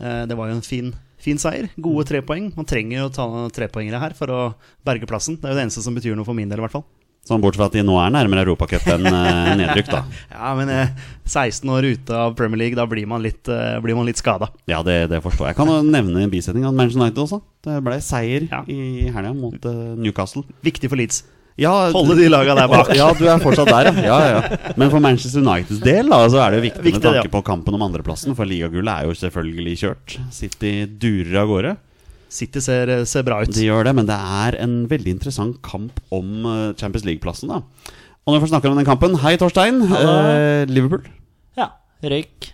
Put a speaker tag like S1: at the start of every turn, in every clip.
S1: Eh, det var jo en fin, fin seier.
S2: Mm.
S1: Gode tre poeng. Man trenger jo å ta noen trepoengere her for å berge plassen. Det er jo det eneste som betyr noe for min del, i hvert fall.
S2: Sånn bortsett fra at de nå er nærmere Europacup enn eh, nedrykk, da.
S1: Ja, men eh, 16 år ute av Premier League, da blir man litt, eh, blir man litt skada.
S2: Ja, det, det forstår jeg. Jeg kan jo nevne i bisetningen at Manchester United også. Det ble seier
S1: Ja.
S2: i helga mot eh, Newcastle.
S1: Viktig for Leeds.
S2: Ja,
S1: Holde de laga der bak.
S2: Ja, du er fortsatt der, ja. ja, ja, ja. Men for Manchester Uniteds del da, så er det jo viktig,
S1: Viktig,
S2: med tanke
S1: ja.
S2: på kampen om andreplassen, for ligagullet er jo selvfølgelig kjørt. City durer av gårde.
S1: City ser, ser bra ut.
S2: De gjør det, men det er en veldig interessant kamp om eh, Champions League-plassen, da. Og når vi først snakker om den kampen, hei, Torstein. Eh, Liverpool.
S3: Ja, røyk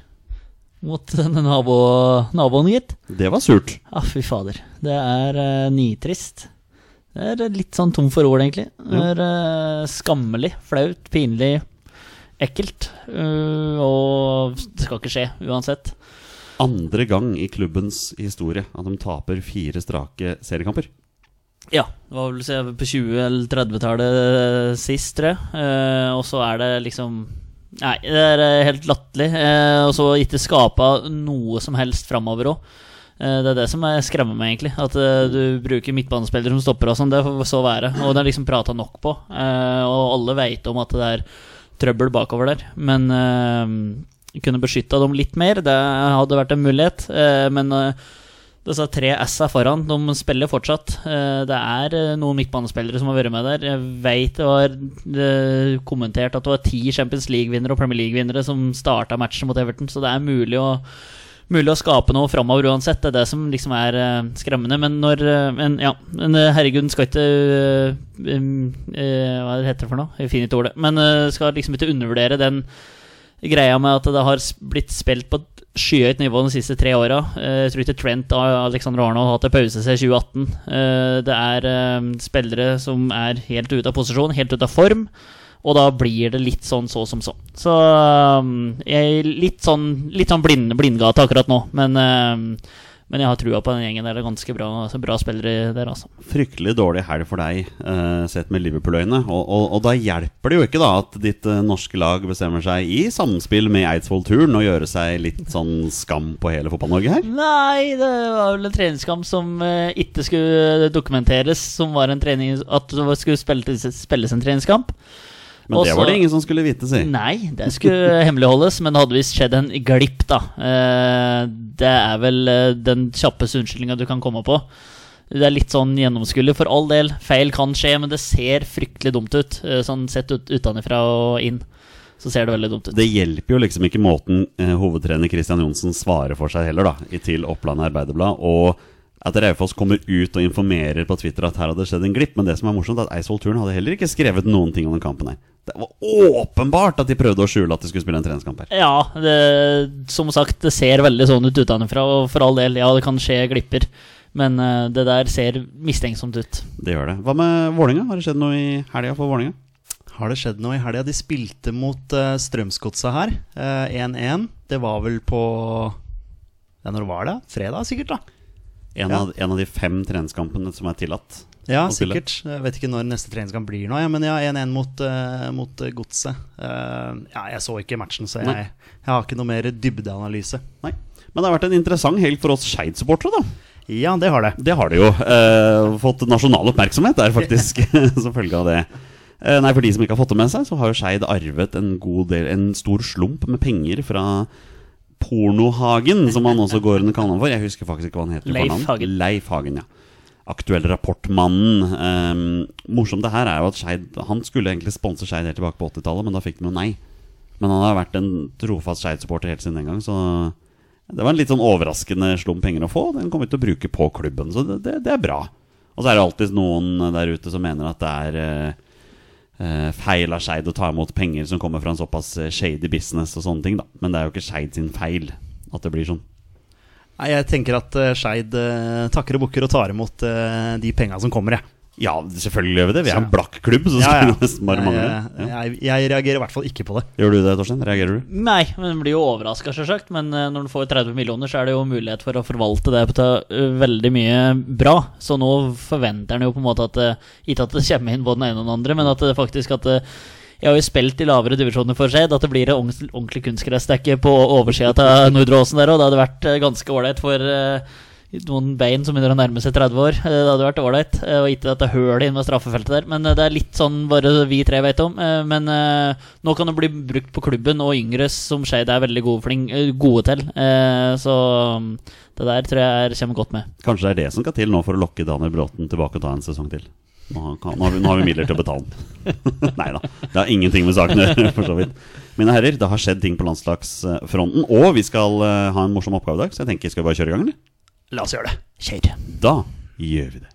S3: mot denne nabo, naboen, gitt.
S2: Det var surt.
S3: Ja, fy fader. Det er eh, nitrist. Det er litt sånn tom for ord, egentlig. Det er eh, skammelig, flaut, pinlig, ekkelt. eh, og det skal ikke skje, uansett.
S2: Andre gang i klubbens historie at de taper fire strake seriekamper.
S3: Ja, det var vel se, på 20- eller 30-tallet sist, tror jeg. Eh, og så er det liksom Nei, det er eh, helt latterlig. Eh, og så ikke skapa noe som helst framover òg. Eh, det er det som er- skremmer meg, egentlig. At eh, du bruker midtbanespillere som stopper og sånn. Det får så være. Og det er liksom prata nok på. Eh, og alle veit om at det er trøbbel bakover der. Men eh, kunne beskytta dem litt mer. Det hadde vært en mulighet. Eh, men eh, disse tre S-a foran, de spiller fortsatt. Eh, Det er eh, noen midtbanespillere som har vært med der. Jeg veit det var eh, kommentert at det var ti Champions League-vinnere og Premier League-vinnere som starta matchen mot Everton, så det er mulig å Mulig å skape noe framover uansett, det er det som liksom er eh, skremmende. Men når eh, Men ja, men eh, herregud, den skal ikke eh, um, eh, Hva heter det for noe? Jeg finner ikke ordet. Men eh, skal liksom ikke undervurdere den greia med at det har s- blitt spilt på et skyhøyt nivå de siste tre åra. Eh, Jeg tror ikke Trent og Alexander Arnold har hatt en pause siden 2018. Eh, Det er eh, spillere som er helt ute av posisjon, helt ute av form. Og da blir det litt sånn så som så. Så um, jeg er litt sånn, litt sånn blind, blindgate akkurat nå. Men, um, men jeg har trua på den gjengen der. Det er ganske bra, bra spillere der, altså.
S2: Fryktelig dårlig helg for deg, eh, sett med Liverpool-øyne. Og, og, og da hjelper det jo ikke da at ditt eh, norske lag bestemmer seg i samspill med Eidsvoll Turn å gjøre seg litt sånn skam på hele Fotball-Norge her.
S3: Nei, det var vel en treningskamp som eh, ikke skulle dokumenteres, som var en trening At det var- skulle spilles, spilles en treningskamp.
S2: Men det
S3: Også-
S2: var det ingen som skulle vite, si.
S3: Nei, det skulle hemmeligholdes, men det hadde visst skjedd en glipp, da. Eh, Det er vel eh, den kjappeste unnskyldninga du kan komme på. Det er litt sånn gjennomskuelig, for all del. Feil kan skje, men det ser fryktelig dumt ut. eh, Sånn sett ut, utenfra og inn, så ser det veldig dumt ut.
S2: Det hjelper jo liksom ikke måten eh, hovedtrener Kristian Johnsen svarer for seg heller, da, i til Oppland Arbeiderblad. Og at Raufoss kommer ut og informerer på Twitter at her hadde skjedd en glipp. Men det som er morsomt, er at Eidsvoll Turn hadde heller ikke skrevet noen ting om den kampen her. Det var åpenbart at de prøvde å skjule at de skulle spille en treningskamp her.
S3: Ja, det, som sagt, det ser veldig sånn ut utenfra, og for all del, ja, det kan skje glipper. Men eh, det der ser mistenksomt ut.
S2: Det gjør det. Hva med Vålinga? Har det skjedd noe i helga for Vålinga?
S1: Har det skjedd noe i helga? De spilte mot uh, Strømsgodset her, eh, 1-1. det var vel på ja, Når var det? Fredag, sikkert? da
S2: En,
S1: Ja.
S2: av, en av de fem treningskampene som er tillatt.
S1: Ja,
S2: å spille.
S1: sikkert. Jeg vet ikke når neste treningskamp blir nå, ja, men ja, 1-1 mot, eh, mot eh, Godset. Eh, ja, jeg så ikke matchen, så jeg,
S2: Nei.
S1: jeg har ikke noe mer dybdeanalyse.
S2: Nei. Men det har vært en interessant helg for oss Skeid-supportere, da.
S1: Ja, det har det.
S2: Det har det jo. Eh, fått nasjonal oppmerksomhet der, faktisk, som følge av det. Eh, nei, For de som ikke har fått det med seg, så har jo Skeid arvet en god del En stor slump med penger fra Pornohagen, som han også går under kallenavn for. Jeg husker faktisk ikke hva han heter. i
S3: Leif
S2: fornavn.
S3: Hagen.
S2: Leif Hagen, ja. Aktuell rapportmannen. Eh, morsomt det her er jo at Skeid Han skulle egentlig sponse Skeid helt tilbake på 80-tallet, men da fikk han jo nei. Men han har vært en trofast Skeid-supporter helt siden den gang, så det var en litt sånn overraskende slum penger å få. Den kommer vi til å bruke på klubben, så det, det, det er bra. Og så er det alltid noen der ute som mener at det er eh, eh, feil av Skeid å ta imot penger som kommer fra en såpass eh, shady business og sånne ting, da. Men det er jo ikke Skeid sin feil at det blir sånn.
S1: Nei, jeg tenker at eh, Skeid eh, takker og bukker og tar imot eh, de penga som kommer, jeg.
S2: Ja, selvfølgelig gjør vi det. Vi er en
S1: Så-
S2: blakk klubb, så
S1: Ja,
S2: skal
S1: ja.
S2: det nesten bare mangle.
S1: Jeg,
S2: Ja.
S1: jeg, jeg reagerer i hvert fall ikke på det.
S2: Gjør du det, Torstein? Reagerer du?
S3: Nei, men du blir jo overraska, sjølsagt. Men eh, når du får 30 millioner, så er det jo mulighet for å forvalte det på ta- eh, veldig mye bra. Så nå forventer en jo på en måte at eh, Ikke at det kommer inn både den ene og den andre, men at det faktisk at eh, Jeg har jo spilt i lavere divisjoner for Skeid, at det blir et ordens- ordentlig kunstgressdekke på oversida av Nordre Åsen der òg. Det hadde vært eh, ganske ålreit for eh, noen bein som begynner å nærme seg 30 år. Eh, Det hadde vært ålreit. eh, Og ikke dette hølet inn med straffefeltet der. Men eh, det er litt sånn bare vi tre vet om. Eh, Men eh, nå kan det bli brukt på klubben, og yngre som Skeid er veldig gode, fling, eh, gode til. Eh, Så mm, det der tror jeg er, kommer godt med.
S2: Kanskje det er det som skal til nå for å lokke Daniel Bråten tilbake og ta en sesong til. Nå har, kan, nå har, vi, nå har vi midler til å betale den. Nei da. Det har ingenting med saken å gjøre, for så vidt. Mine herrer, det har skjedd ting på landslagsfronten, og vi skal eh, ha en morsom oppgave i dag, så jeg tenker skal vi bare kjøre i gang, eller?
S1: La oss gjøre det.
S3: Kjør.
S2: Da gjør vi det.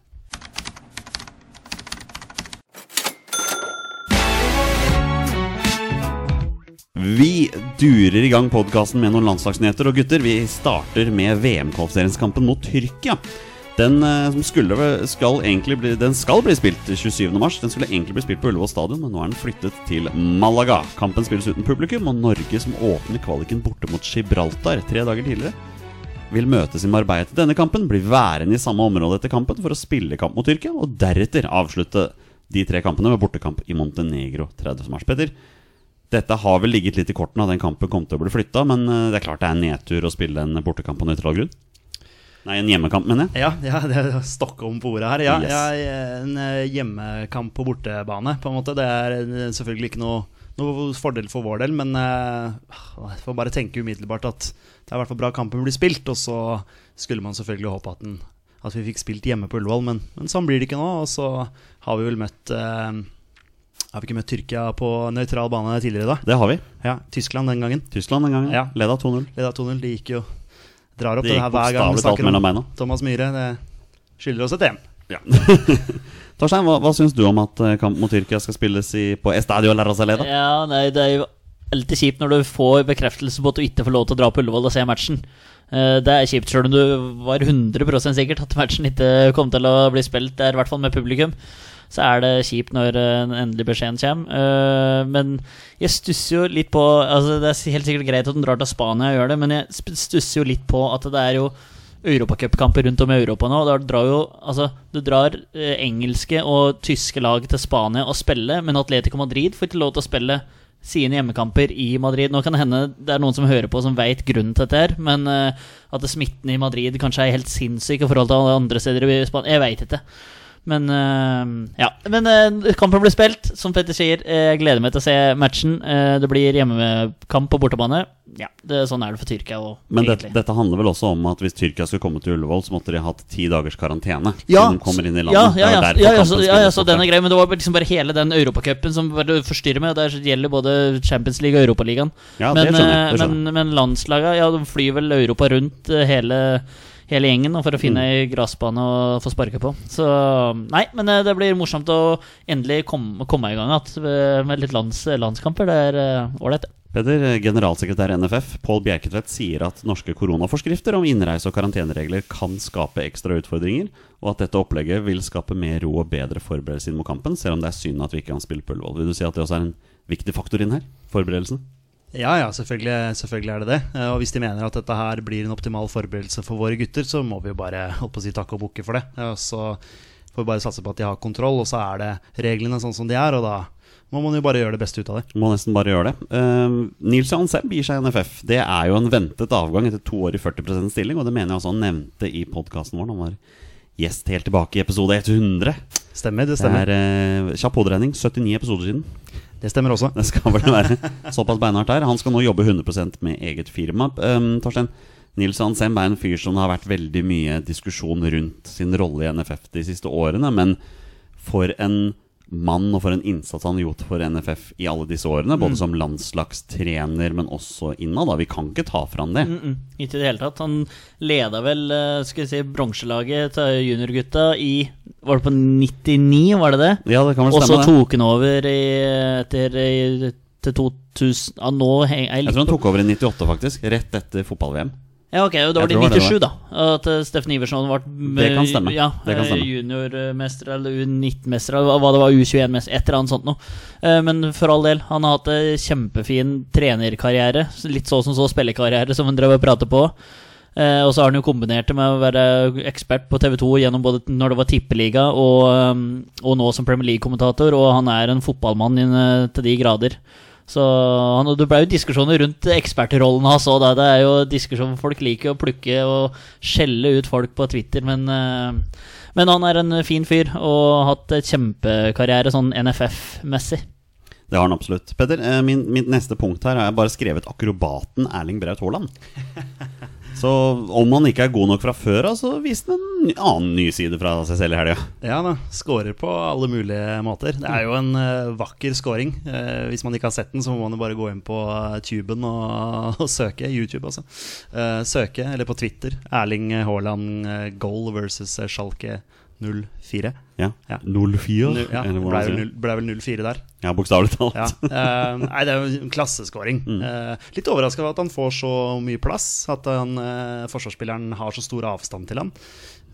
S2: Vi durer i gang podkasten med noen landslagsnyheter. Og gutter, vi starter med VM-kvalifiseringskampen mot Tyrkia. Den, eh, som skulle, skal egentlig bli, den skal bli spilt 27. mars. Den skulle egentlig bli spilt på Ullevål stadion, men nå er den flyttet til Malaga. Kampen spilles uten publikum, og Norge, som åpner kvaliken borte mot Gibraltar tre dager tidligere, vil møtes i Marbella til denne kampen, blir værende i samme område etter kampen for å spille kamp mot Tyrkia, og deretter avslutte de tre kampene med bortekamp i Montenegro 30. mars. Petter, dette har vel ligget litt i kortene, at den kampen kom til å bli flytta, men eh, det er klart det er en nedtur å spille en bortekamp på nøytral grunn. Nei, en hjemmekamp, mener jeg.
S1: Ja, ja det er Stockholm på ordet her. Ja,
S2: Yes.
S1: ja, en eh, hjemmekamp på bortebane, på en måte. Det er eh, selvfølgelig ikke noe, noe fordel for vår del, men eh, jeg får bare tenke umiddelbart at det er i hvert fall bra kampen blir spilt, og så skulle man selvfølgelig håpe at, den, at vi fikk spilt hjemme på Ullevål, men, men sånn blir det ikke nå. Og så har vi vel møtt eh, Har vi ikke møtt Tyrkia på nøytral bane tidligere, da?
S2: Det har vi.
S1: Ja, Tyskland den gangen.
S2: Tyskland den gangen.
S1: Ja.
S2: Leda 2-0.
S1: Leda 2-0. De gikk jo Drar opp
S2: Det
S1: det,
S2: gikk
S1: her hver gang vi
S2: bokstavelig talt
S1: snakker
S2: mellom
S1: om
S2: beina.
S1: Thomas Myhre. Det skylder oss et EM.
S2: Torstein, hva, hva syns du om at eh, kamp mot Tyrkia skal spilles i, på Estadio La Rosaleda?
S3: Ja, nei, det er jo alltid kjipt når du får bekreftelse på at du ikke får lov til å dra på Ullevål og se matchen. Eh, Det er kjipt selv om du var 100 sikkert at matchen ikke kom til å bli spilt der, i hvert fall med publikum. Så er det kjipt når eh, den endelige beskjeden kommer. Eh, Men jeg stusser jo litt på altså Det er helt sikkert greit at den drar til Spania og gjør det, men jeg sp- stusser jo litt på at det er jo europacupkamper rundt om i Europa nå. og Da drar jo, altså, du drar eh, engelske og tyske lag til Spania og spille, men Atletico Madrid får ikke lov til å spille sine hjemmekamper i Madrid. Nå kan det hende det er noen som hører på som veit grunnen til dette, her, men eh, at smitten i Madrid kanskje er helt sinnssyk i forhold til alle andre steder i Spania, jeg veit ikke. Men eh, ja. Men eh, kampen blir spilt, som Petter sier. eh, Jeg gleder meg til å se matchen. Eh, det blir hjemmekamp på bortebane. Ja, det, sånn er det for Tyrkia òg,
S2: Men det, dette handler vel også om at hvis Tyrkia skulle komme til Ullevål, så måtte de hatt ti dagers karantene.
S3: Ja,
S2: siden de kommer inn i
S3: ja,
S2: landet. Det er
S3: ja, ja,
S2: jo derfor
S3: ja, ja,
S2: kampen
S3: så, ja,
S2: spilles
S3: ja, så
S2: borte.
S3: den er grei, men det var bare liksom bare hele den Europacupen som bare forstyrrer meg. og Der gjelder både Champions League og Europaligaen.
S2: Ja, det
S3: men,
S2: skjønner jeg, det
S3: eh, men, men landslaga ja, de flyr vel Europa rundt eh, hele, hele gjengen nå, for å
S2: Mm.
S3: finne ei gressbane å få sparke på. Så nei, men eh, det blir morsomt å endelig komme, komme i gang igjen eh, med litt lands, landskamper. Det er eh, ålreit.
S2: Peder, generalsekretær i NFF, Pål Bjerketvedt sier at norske koronaforskrifter om innreise- og karanteneregler kan skape ekstra utfordringer, og at dette opplegget vil skape mer ro og bedre forberedelse inn mot kampen, selv om det er synd at vi ikke kan spille på Ullevål. Vil du si at det også er en viktig faktor inn her? Forberedelsene?
S1: Ja, ja, selvfølgelig, selvfølgelig er det det. Eh, Og hvis de mener at dette her blir en optimal forberedelse for våre gutter, så må vi jo bare holdt på å si takke og bukke for det. Ja, og så får vi bare satse på at de har kontroll, og så er det reglene sånn som de er, og da må man jo bare gjøre det beste ut av det.
S2: Må nesten bare gjøre det. Uh, Nils Johan Sebb gir seg i NFF. Det er jo en ventet avgang etter to år i 40 stilling, og det mener jeg også han nevnte i podkasten vår. Han var gjest helt tilbake i episode 100.
S1: Stemmer, det
S2: Det
S1: stemmer.
S2: er eh, kjapp hoderegning. 79 episoder siden.
S1: Det stemmer også.
S2: Det skal vel være såpass beinhardt her. Han skal nå jobbe 100 med eget firma. Um, Torstein, Nils Johan Semb er en fyr som det har vært veldig mye diskusjon rundt sin rolle i NFF de siste årene. Men for en mann og for en innsats han har gjort for NFF i alle disse årene. Både som landslagstrener, men også innad. da. Vi kan ikke ta fra han det.
S3: Mm, ikke i det hele tatt. Han leda vel eh, skal vi si, bronselaget til juniorgutta i Var det på 99, var det det?
S2: Ja, det kan vel
S3: Og så
S2: stemme, det.
S3: tok han over i, etter i, til 2000 ja, Nå henger jeg
S2: Jeg
S3: litt
S2: tror han
S3: på
S2: tok over i 98, faktisk. Rett etter fotball-VM.
S3: Ja, ok, da
S2: Jeg
S3: var det i
S2: tror det
S3: 97,
S2: var det.
S3: da. At eh, Steffen Iversen ble m-
S2: Det kan stemme.
S3: Ja,
S2: Det kan
S3: eh,
S2: stemme.
S3: Juniormester eller U19-mester, eller hva- hva det var, U21-mester, et eller annet sånt noe. Eh, Men for all del, han har hatt en kjempefin trenerkarriere. s- Litt så som så spillekarriere, som han drev og pratet på. Eh, Og så har han jo kombinert det med å være ekspert på TV2 gjennom både når det var tippeliga og, eh, og nå som Premier League-kommentator, og han er en fotballmann inn, eh, til de grader. Så han, og Det ble jo diskusjoner rundt ekspertrollen hans òg. Det er jo diskusjon folk liker å plukke og skjelle ut folk på Twitter, men, eh, men han er en fin fyr og har hatt et kjempekarriere sånn NFF-messig.
S2: Det har han absolutt. Petter, eh, min, mitt neste punkt her har jeg bare skrevet akrobaten Erling Braut Haaland. Så om han ikke er god nok fra før av, så viste han en ny- annen ny side fra seg selv i helga.
S1: Ja da, skårer på alle mulige måter. Det er jo en eh, vakker scoring. Eh, hvis man ikke har sett den, så må man jo bare gå inn på eh, tuben og, og søke. YouTube, altså. Eh, søke, eller på Twitter. Erling Haaland eh, goal versus eh, Schalke 04.
S2: Ja.
S1: Ja.
S2: 0-4,
S1: Nu- Ja,
S2: eller
S1: det
S2: hvordan
S1: ble
S2: sier
S1: vel
S2: det?
S1: null- ble vel 0-4 der.
S2: Ja, bokstavelig talt.
S1: Ja. Eh, nei, det er jo en klasseskåring.
S2: Mm.
S1: Eh, litt overraska over at han får så mye plass. At han, eh, forsvarsspilleren har så stor avstand til ham.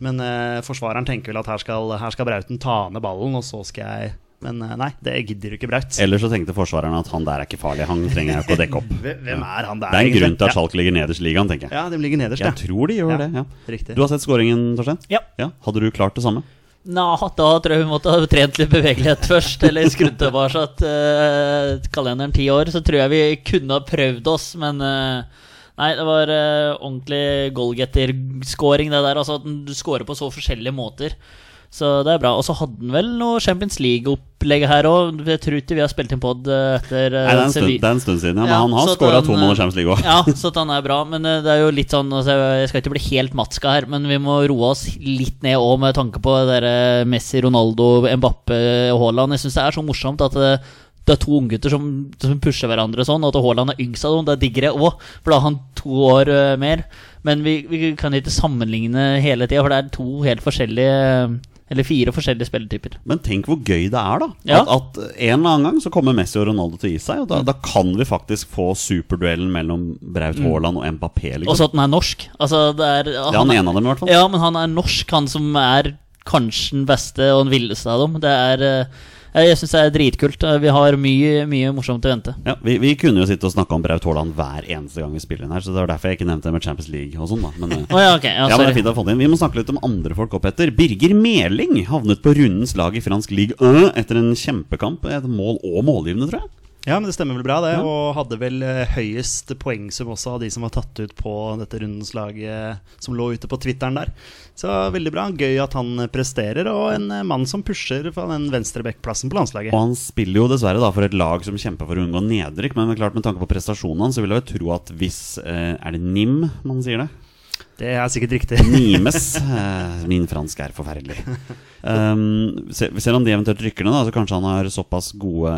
S1: Men eh, forsvareren tenker vel at her skal, her skal Brauten ta ned ballen, og så skal jeg Men eh, nei, det gidder jo ikke Braut.
S2: Eller så tenkte forsvareren at han der er ikke farlig, han trenger jeg ikke å dekke opp.
S1: Hvem hvem er han der,
S2: Det er en grunn til at
S1: Ja.
S2: Schalke ligger nederst i ligaen, tenker jeg.
S1: Ja, de ligger nederst,
S2: Jeg tror de gjør
S1: Ja.
S2: det, ja.
S1: Riktig.
S2: Du har sett skåringen, Torstein?
S3: Ja.
S2: Hadde du klart det samme?
S3: Nå, da tror jeg vi måtte ha trent litt bevegelighet først, eller skrudd tilbake at, eh, kalenderen ti år. Så tror jeg vi kunne ha prøvd oss, men eh, Nei, det var eh, ordentlig goalgetter-scoring, det der. Altså at du scorer på så forskjellige måter. Så det er bra. Og så hadde han vel noe Champions League-opplegg her òg. Jeg tror ikke vi har spilt inn pod etter eh,
S2: Nei, det er en stund,
S3: Sevilla.
S2: det er en stund siden, ja, men
S3: Ja,
S2: han har
S3: så eh, at
S2: skåra
S3: han,
S2: to mål i Champions League òg.
S3: Ja, så at han er bra. Men eh, det er jo litt sånn altså, Jeg skal ikke bli helt matska her, men vi må roe oss litt ned òg med tanke på det der eh, Messi, Ronaldo, Mbappe og Haaland. Jeg syns det er så morsomt at det, det er to unggutter som, som pusher hverandre sånn, og at Haaland er yngst av dem. Det digger jeg òg, for da er han to år eh, mer. Men vi, vi kan ikke sammenligne hele tida, for det er to helt forskjellige Eller fire forskjellige spilletyper.
S2: Men tenk hvor gøy det er, da.
S3: Ja.
S2: At, at en eller annen gang så kommer Messi og Ronaldo til å gi seg. Og da, da kan vi faktisk få superduellen mellom Braut Haaland og Mbappé.
S3: Mm. Og
S2: Liksom.
S3: så at han er norsk. Altså, det er,
S2: Ja, han ene av dem, i hvert fall.
S3: Ja, men han er norsk, han som er kanskje den beste og den villeste av dem. Det er eh, Jeg syns det er dritkult. Eh, Vi har mye, mye morsomt til å vente.
S2: Ja, vi, vi kunne jo sitte og snakke om Braut Haaland hver eneste gang vi spiller inn her, så det var derfor jeg ikke nevnte det med Champions League og sånn, da. Men, eh,
S3: Å ja, ok. Ja,
S2: ja, men det er
S3: sorry.
S2: fint å få det inn. Vi må snakke litt om andre folk opp etter. Birger Meling havnet på rundens lag i fransk league 1 etter en kjempekamp. Et mål og målgivende, tror jeg.
S1: Ja, men det stemmer vel bra, det. Og hadde vel eh, høyest poengsum også av de som var tatt ut på dette rundens lag eh, som lå ute på Twitteren der. Så veldig bra. Gøy at han eh, presterer, og en eh, mann som pusher fra den venstrebekkplassen på landslaget.
S2: Og han spiller jo dessverre da for et lag som kjemper for å unngå nedrykk, men klart med tanke på prestasjonene hans, så vil jeg jo tro at hvis eh, Er det NIM man sier det?
S1: Det er sikkert riktig.
S2: Nimes. Eh, Min fransk er forferdelig. Um, se- selv om de eventuelt rykker ned, da, så kanskje han har såpass gode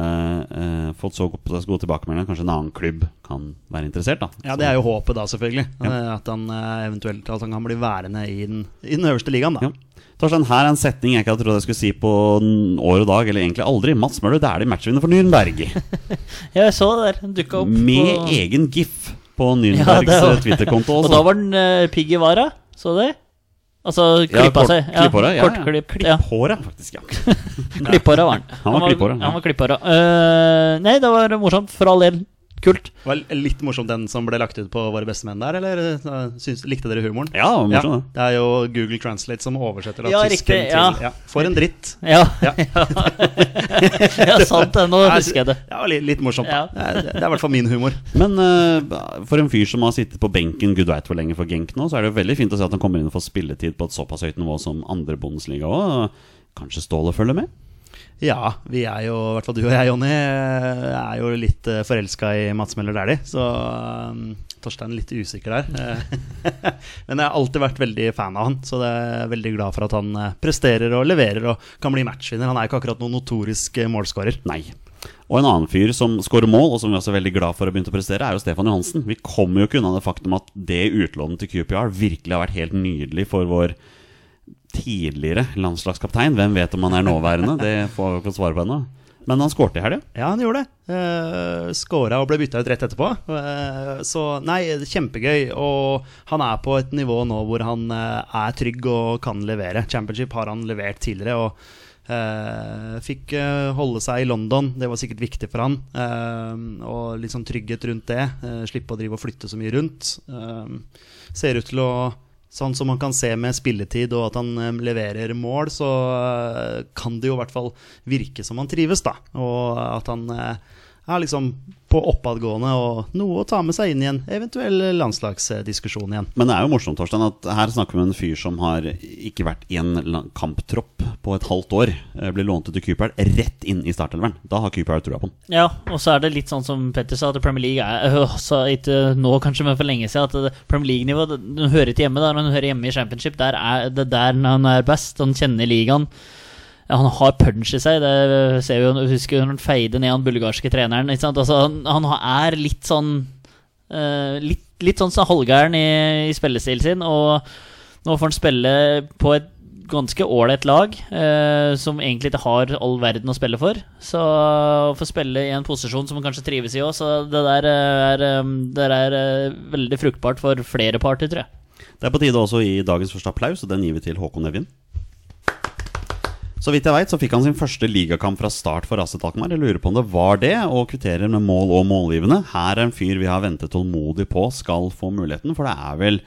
S2: eh, fått så såpass gode tilbakemeldinger. Kanskje en annen klubb kan være interessert, da.
S1: Ja, Det er jo håpet, da, selvfølgelig. Eh, At han eh, eventuelt at han kan bli værende i den, i den øverste ligaen, da.
S2: Ja. Torstein, her er en setning jeg ikke hadde trodd jeg skulle si på n- år og dag, eller egentlig aldri. Mats Møller, det er de matchvinner for Nürnberg.
S3: Ja, jeg så det der. Dukka opp
S2: Med
S3: på
S2: egen gif på
S3: Ja, det
S2: Nürnbergs
S3: var-
S2: eh, Twitter-konto
S3: Og
S2: også.
S3: da var den eh, pigg i vara. Så du det? Altså
S2: Ja,
S3: klippa
S2: kort-
S3: seg.
S2: klipphåra, ja, ja.
S3: Kortklipp. Ja.
S2: Håret, faktisk, ja.
S3: Klipphåra var han.
S2: Han var klipphåra, ja.
S3: Han var klipphåra. Eh, nei, det var morsomt, for all del. kult.
S1: Det var litt morsomt den som ble lagt ut på Våre beste menn der, eller? eh, Syns, likte dere humoren?
S2: Ja, morsom, det.
S1: det er jo Google Translate som oversetter da
S3: Ja,
S1: tysken
S3: riktig,
S1: til
S3: ja.
S1: ja. For en dritt.
S3: Ja,
S1: Ja.
S3: ja. sant det. Nå husker jeg det.
S1: Ja, litt, litt morsomt. da.
S3: Ja.
S1: Det, er- det er i hvert fall min humor.
S2: Men eh, for en fyr som har sittet på benken gud veit hvor lenge for Genk nå, så er det jo veldig fint å se at han kommer inn og får spilletid på et såpass høyt nivå som andre Bundesliga òg. Kanskje Ståle følger med?
S1: Ja, vi er jo, i hvert fall du og jeg, Jonny, eh, er jo litt forelska i Mats Møller Dæhlie. Så um, Torstein er litt usikker der. Eh, Men jeg har alltid vært veldig fan av han, så jeg er jeg veldig glad for at han eh, presterer og leverer og kan bli matchvinner. Han er jo ikke akkurat noen notorisk eh, målskårer.
S2: Nei. Og en annen fyr som skårer mål, og som vi er også er veldig glad for å begynne å prestere, er jo Stefan Johansen. Vi kommer jo ikke unna det faktum at det utlånet til QPR virkelig har vært helt nydelig for vår tidligere landslagskaptein. Hvem vet om han er nåværende? Det får vi ikke svare på ennå. Men han skårte i helga.
S1: Ja, han gjorde det. Uh, Skåra og ble bytta ut rett etterpå. Eh, så nei, kjempegøy. Og han er på et nivå nå hvor han eh, er trygg og kan levere. Championship har han levert tidligere. og eh, fikk eh, holde seg i London, det var sikkert viktig for han. eh, og litt sånn trygghet rundt det. eh, slippe å drive og flytte så mye rundt. Eh, ser ut til å Sånn som man kan se med spilletid og at han eh, leverer mål, så eh, kan det jo i hvert fall virke som han trives, da. Og at han eh, er liksom på oppadgående og noe å ta med seg inn i en eventuell landslagsdiskusjon igjen.
S2: Men det er jo morsomt, Torstein, at her snakker vi om en fyr som har ikke vært i en la- kamptropp på et halvt år. Eh, Blir lånt ut til Cooper rett inn i startelveren. Da har Cooper trua på han.
S3: Ja, og så er det litt sånn som Petter sa, at Premier League er øh, sa ikke nå kanskje, men for lenge siden, at det- Premier League-nivå det- den hører ikke hjemme der. Den hører hjemme i Championship. Der er det der han er best. Han kjenner ligaen. Ja, Han har punch i seg. Det øh, ser vi jo husker vi når han feide ned han bulgarske treneren. Ikke sant? Altså, han, han er litt sånn eh, litt, litt sånn så halvgæren i, i spillestilen sin, og nå får han spille på et ganske ålreit lag, eh, som egentlig ikke har all verden å spille for. Så å få spille i en posisjon som han kanskje trives i òg, så det der eh, er, eh, det der er eh, veldig fruktbart for flere parter, tror jeg.
S2: Det er på tide også i dagens første applaus, og den gir vi til Håkon Evjen. Så vidt jeg veit, så fikk han sin første ligakamp fra start for Aset Alkmaar. Jeg lurer på om det var det, og kvitterer med mål og målgivende. Her er en fyr vi har ventet tålmodig på skal få muligheten, for det er vel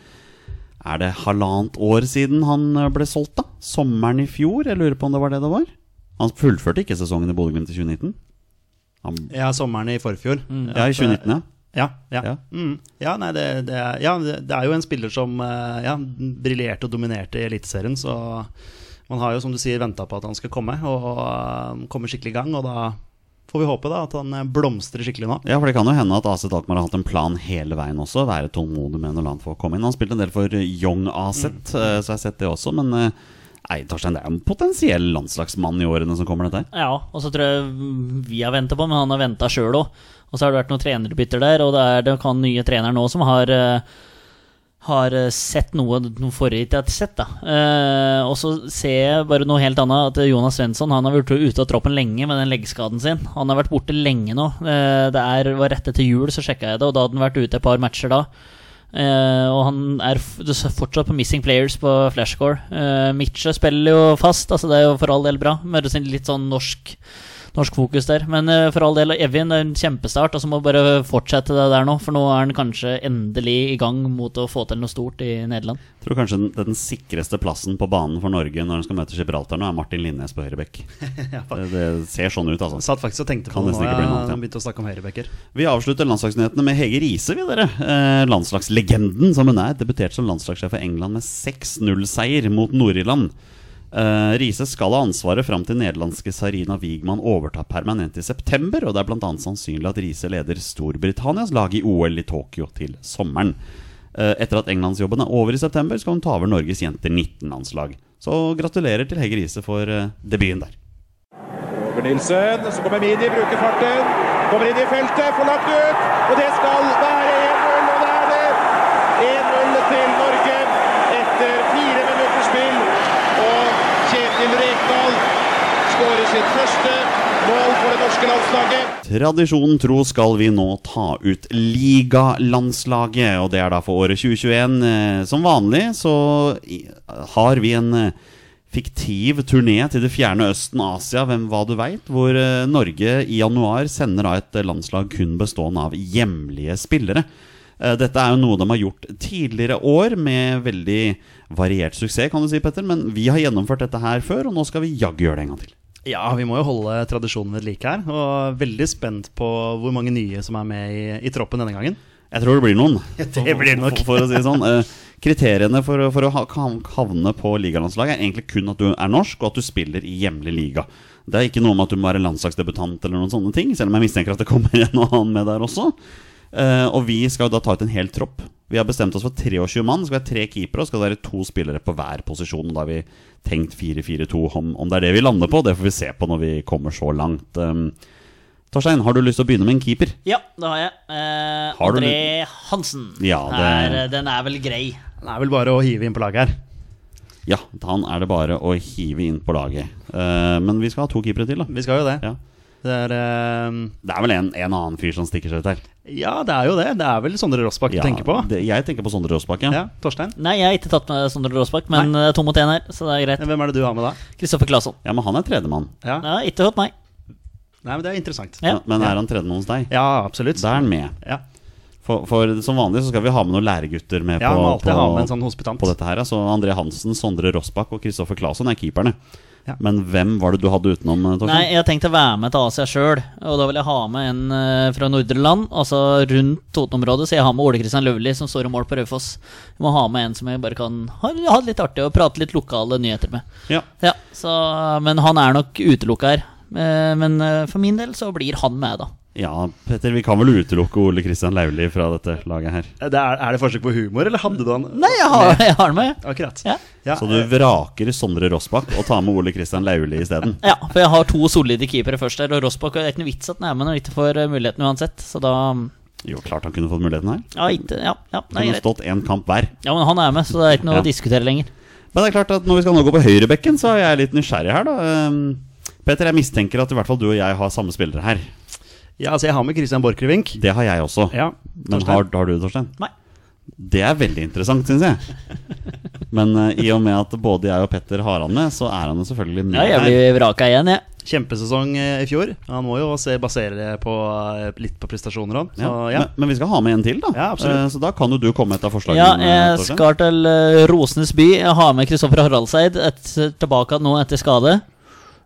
S2: Er det halvannet år siden han ble solgt, da? Sommeren i fjor? Jeg lurer på om det var det det var? Han fullførte ikke sesongen i Bodø-Glimt i 2019. Han,
S1: Ja, sommeren i forfjor. eh,
S2: ja, i 2019, ja.
S1: Ja, ja.
S2: Ja.
S1: Mm. ja nei, det, det, er, ja, det det er jo en spiller som eh, ja, briljerte og dominerte i Eliteserien, så man har jo, som du sier, venta på at han skal komme, og eh, komme skikkelig i gang. Og da får vi håpe da at han eh, blomstrer skikkelig nå.
S2: Ja, for det kan jo hende at AC Alkmaar har hatt en plan hele veien også. Være tålmodig med når land får komme inn. Han spilte en del for Young AZ, eh, så jeg har sett det også. Men eh, nei, Torstein, det er en potensiell landslagsmann i årene som kommer, dette her.
S3: Ja, og så tror jeg mm, vi har venta på, men han har venta sjøl òg. Og så har det vært noen trenerbytter der, og det er det kan nye treneren nå som har eh, har eh, sett noe noe forrige ikke har sett, da. Eh, og så ser jeg bare noe helt annet. At Jonas Svensson han har vært ute av troppen lenge med den leggskaden sin. Han har vært borte lenge nå. Eh, det er, var rett etter jul, så sjekka jeg det, og da hadde han vært ute et par matcher da. Eh, og han er f det er fortsatt på missing players på flashscore. Uh, Mitche spiller jo fast, altså det er jo for all del bra. Med litt sånn norsk, norsk fokus der. Men eh, for all del, Evjen det er en kjempestart, og så må bare fortsette det der nå. For nå er han kanskje endelig i gang mot å få til noe stort i Nederland.
S2: Tror kanskje den, den sikreste plassen på banen for Norge når han skal møte Gibraltar nå, er Martin Linnes på høyrebekk. Det, det ser sånn ut, altså.
S1: Satt faktisk og tenkte på
S2: Kan
S1: det nå,
S2: nesten ikke bli noe
S1: ja,
S2: annet, ja.
S1: han begynte å snakke om høyrebekker.
S2: Vi avslutter landslagsnyhetene med Hege Riise, vi dere. Eh, landslagslegenden som hun er. Debuterte som landslagssjef for England med 6-0-seier mot Nord-Irland. Eh, Riise skal ha ansvaret fram til nederlandske Sarina Wiegmann overtar permanent i september, og det er bl.a. sannsynlig at Riise leder Storbritannias lag i OL i Tokyo til sommeren. Eh, etter at englandsjobben er over i september, skal hun ta over Norges jenter 19-landslag. Så gratulerer til Hege Riise for eh, debuten der.
S4: Roger Nilsen, så kommer Midi, bruker farten. Kommer inn i feltet, får lagt ut, og det skal være 1-0, og det er det! 1-0 til Norge etter fire minutters spill. Og Kjetil Rekdal skårer sitt første mål for det norske landslaget.
S2: Tradisjonen tro skal vi nå ta ut ligalandslaget, og det er da for året 2021. Eh, Som vanlig så i- har vi en eh, fiktiv turné til det fjerne Østen, Asia, hvem hva du veit, hvor eh, Norge i januar sender da et eh, landslag kun bestående av hjemlige spillere. Eh, Dette er jo noe de har gjort tidligere år, med veldig variert suksess, kan du si, Petter. Men vi har gjennomført dette her før, og nå skal vi jaggu gjøre det en gang til.
S1: Ja, vi må jo holde tradisjonen ved like her. Og veldig spent på hvor mange nye som er med i, i troppen denne gangen.
S2: Jeg tror det blir noen.
S1: Det blir det nok.
S2: For, for å si det sånn. Eh, Kriteriene for, å- for å ha- kan- havne på ligalandslaget er egentlig kun at du er norsk, og at du spiller i hjemlig liga. Det er ikke noe med at du må være landslagsdebutant eller noen sånne ting, selv om jeg mistenker at det kommer en og annen med der også. Eh, og vi skal jo da ta ut en hel tropp. Vi har bestemt oss for 23 mann. Det skal være tre keepere og skal det være to spillere på hver posisjon. Og Da har vi tenkt 4-4-2 om, om det er det vi lander på. Det får vi se på når vi kommer så langt. Eh, Torstein, har du lyst til å begynne med en keeper?
S3: Ja, det har jeg. Eh,
S2: Har du
S3: André Hansen.
S2: Ja, det-
S3: er, eh, den er vel grei.
S1: Det er vel bare å hive inn på laget her.
S2: Ja, han er det bare å hive inn på laget. Eh, men vi skal ha to keepere til, da.
S1: Vi skal jo det.
S2: Ja.
S1: Det er eh,
S2: Det er vel en, en annen fyr som stikker seg ut her.
S1: Ja, det er jo det. Det er vel Sondre Rossbakk
S2: Ja,
S1: du tenker på?
S2: Det, jeg tenker på Sondre Rossbakken.
S1: Ja, Torstein?
S3: Nei, jeg har ikke tatt med Sondre Råsbakk, men det er to mot én her, så det er greit.
S1: Hvem er det du har med da?
S3: Kristoffer Claesson.
S2: Ja, men han er tredjemann.
S1: Ja.
S3: Ja, ikke hos meg.
S1: Nei, men Det er interessant.
S3: Ja.
S2: Men er han tredjemann hos deg?
S1: Ja, absolutt.
S2: Da er han med.
S1: Ja,
S2: For, for som vanlig så skal vi ha med noen læregutter med
S1: ja
S2: på,
S1: må alltid
S2: på,
S1: ha med en sånn hospitant.
S2: på dette her. ja. Så André Hansen, Sondre Rossbakk og Kristoffer Claesson er keeperne.
S1: Ja.
S2: Men hvem var det du hadde utenom, eh,
S3: Nei,
S2: Torstein?
S3: jeg har tenkt å være med til Asia sjøl, og da vil jeg ha med en eh, fra nordre land, altså rundt Toten-området, så jeg har med Ole Kristian Løvli, som står i mål på Raufoss. Jeg må ha med en som jeg bare kan ha, ha det litt artig og prate litt lokale nyheter med.
S2: Ja.
S3: Ja, så, Men han er nok utelukka her. Eh, Men eh, for min del så blir han med, da.
S2: ja, Petter, vi kan vel utelukke Ole Kristian Lauli fra dette laget her.
S1: Eh, Det er, er det forsøk på humor, eller hadde du han
S3: Nei, jeg har, jeg har han med.
S1: Akkurat.
S3: Ja.
S1: Ja,
S2: Så du vraker Sondre Rossbakk og tar med Ole Kristian Lauli isteden?
S3: Ja, for jeg har to solide keepere først der, og Rossbakk er ikke noe vits at han er med når han ikke får eh, muligheten uansett. Så da mm,
S2: Jo, klart han kunne fått muligheten her.
S3: Ja, ikke, ja, ja nei,
S2: Kunne
S3: greit.
S2: stått én kamp hver.
S3: Ja, men han er med, så det er ikke noe
S2: Ja.
S3: å diskutere lenger.
S2: Men det er klart at når vi skal nå gå på høyrebekken, så er jeg litt nysgjerrig her, da. Ehm, Peter, jeg mistenker at i hvert fall du og jeg har samme spillere her.
S1: ja, altså Jeg har med Christian Borchgrevink.
S2: Det har jeg også.
S1: Ja,
S2: Men
S1: Torstein.
S2: har, har du det, Torstein?
S3: Nei.
S2: Det er veldig interessant, syns jeg. Men eh, i og med at både jeg og Petter har han med, så er han jo selvfølgelig med
S3: Ja, jeg
S2: her.
S3: blir vraka igjen, jeg.
S1: Kjempesesong eh, i fjor. Han må jo se basere på eh, litt på prestasjoner òg.
S2: Ja.
S1: Så ja.
S2: Men, men vi skal ha med en til, da.
S1: Ja, absolutt.
S2: Eh, Så da kan jo du komme etter forslaget.
S3: Ja, jeg skal til eh, Rosenes by. Jeg har med Kristoffer Haraldseid et, tilbake nå etter skade.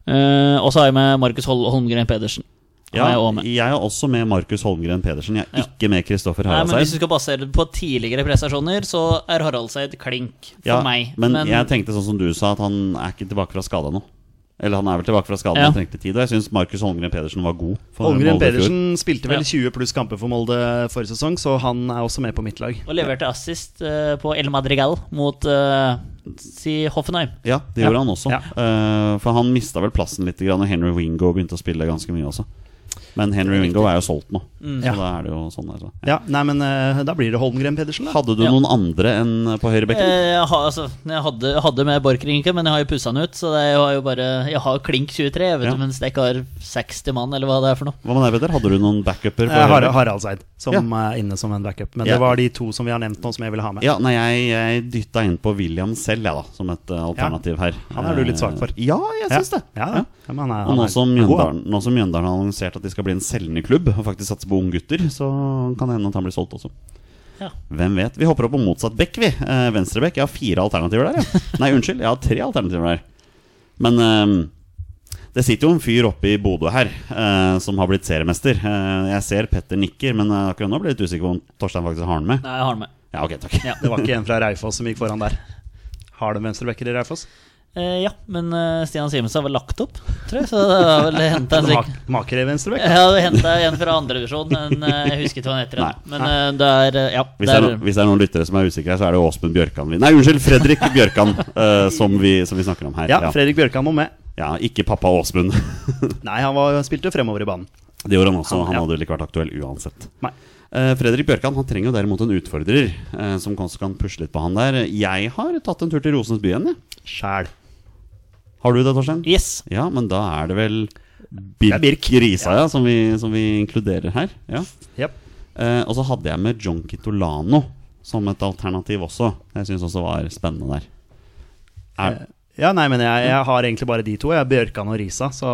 S3: Eh, og så har jeg med Markus Hol Holmgren Pedersen. Han
S2: ja,
S3: er jeg også med.
S2: jeg er også med Markus Holmgren Pedersen. Jeg er
S3: Ja.
S2: ikke med Kristoffer
S3: Nei, men Hvis
S2: Haraldseid.
S3: du skal basere det på tidligere prestasjoner, så er Haraldseid klink for
S2: Ja,
S3: meg.
S2: Men, jeg tenkte sånn som du sa, at han er ikke tilbake fra skada nå. Eller han er vel tilbake fra skada,
S3: Ja.
S2: men trengte tid. Og jeg syns Markus Holmgren Pedersen var god. for
S1: Holmgren
S2: Molde i fjor.
S1: Pedersen spilte vel 20
S3: Ja.
S1: pluss kamper for Molde forrige sesong, så han er også med på mitt lag.
S3: og leverte assist eh, på El Madrigal mot eh, si Hoffenheim.
S2: Ja, det gjorde han også.
S1: Ja.
S2: Eh, for han mista vel plassen litt, grann, og Henry Wingo begynte å spille ganske mye også. Men Henry Wingo er jo solgt nå, så
S3: Mm.
S1: Ja.
S2: da er det jo sånn. Altså. Ja.
S1: Ja, nei, men eh, Da blir det Holmgren Pedersen, da.
S2: Hadde du
S3: Ja.
S2: noen andre enn på høyrebekken?
S3: Eh, Jeg, har, altså, jeg hadde, hadde med Borchgrevink, men jeg har jo pussa han ut. Så det er, jeg har jo bare Jeg har klink 23, jeg vet
S2: Ja.
S3: du, mens jeg ikke har 60 mann, eller hva det er for noe.
S2: Hva med deg, Petter? Hadde du noen backuper? på
S1: Eh, Har
S2: høyrebekken?
S1: Haraldseid som
S2: Ja.
S1: er inne som en backup. Men
S2: Ja.
S1: det var de to som vi har nevnt nå, som jeg ville ha med.
S2: Ja, nei, jeg, jeg dytta inn på William selv, jeg, da, som et eh, alternativ her.
S1: Han er du litt svak for.
S2: Eh, Ja, jeg syns det.
S1: Ja,
S2: Ja.
S1: ja. ja men han er,
S2: Og
S1: han
S2: nå
S1: er
S2: som,
S1: god,
S2: Mjøndalen, nå som Mjøndalen har annonsert at de skal bli en selgende klubb, og faktisk satse på unggutter, så kan det hende at han blir solgt også.
S3: Ja.
S2: Hvem vet? Vi hopper opp på motsatt bekk, vi. Eh, Venstrebekk. Jeg har fire alternativer der, ja. Nei, unnskyld. Jeg har tre alternativer der. Men eh, det sitter jo en fyr oppe i Bodø her eh, som har blitt seriemester. Eh, jeg ser Petter nikker, men eh, akkurat nå blir jeg litt usikker på om Torstein faktisk har han med.
S3: Nei, jeg har han med.
S2: Ja, ok, takk.
S3: Ja.
S1: Det var ikke en fra Raufoss som gikk foran der. Har de venstrebacker i Raufoss?
S3: Eh, ja, men eh, Stian Simensen har vel lagt opp, tror jeg. Så det har vel henta
S2: Altså,
S1: De
S3: en slik
S1: har- Maker i venstreback?
S3: Jeg hadde henta en fra andredivisjon, men eh, jeg husker ikke hva han heter.
S2: Nei.
S3: Men eh, det er eh, Ja.
S2: Hvis
S3: det
S2: det, er
S3: er,
S2: noen, hvis det er noen lyttere som er usikre, her, så er det Åsmund Bjørkan vi Nei, unnskyld, Fredrik Bjørkan eh, som, vi, som vi snakker om her.
S1: Ja, Fredrik Bjørkan må med.
S2: ja ikke pappa Åsmund.
S1: Nei, han var, spilte jo fremover i banen.
S2: Det gjorde han også.
S1: Han-
S2: Han
S1: ja.
S2: hadde vel ikke vært aktuell uansett.
S1: Nei.
S2: Eh, Fredrik Bjørkan han trenger jo derimot en utfordrer, eh, som kanskje kan pusle litt på han der. Jeg har tatt en tur til Rosens by igjen, jeg.
S1: Sjæl.
S2: Har du det, Torstein?
S3: Yes.
S2: Ja, men da er det vel Birk,
S1: er Birk.
S2: Risa, ja, som, vi, som vi inkluderer her. Ja.
S1: Yep.
S2: Eh, og så hadde jeg med John Kitolano som et alternativ også. Jeg syns også var spennende der. Er,
S1: Ja, nei, men jeg, jeg har egentlig bare de to. Jeg er Bjørkan og Risa, så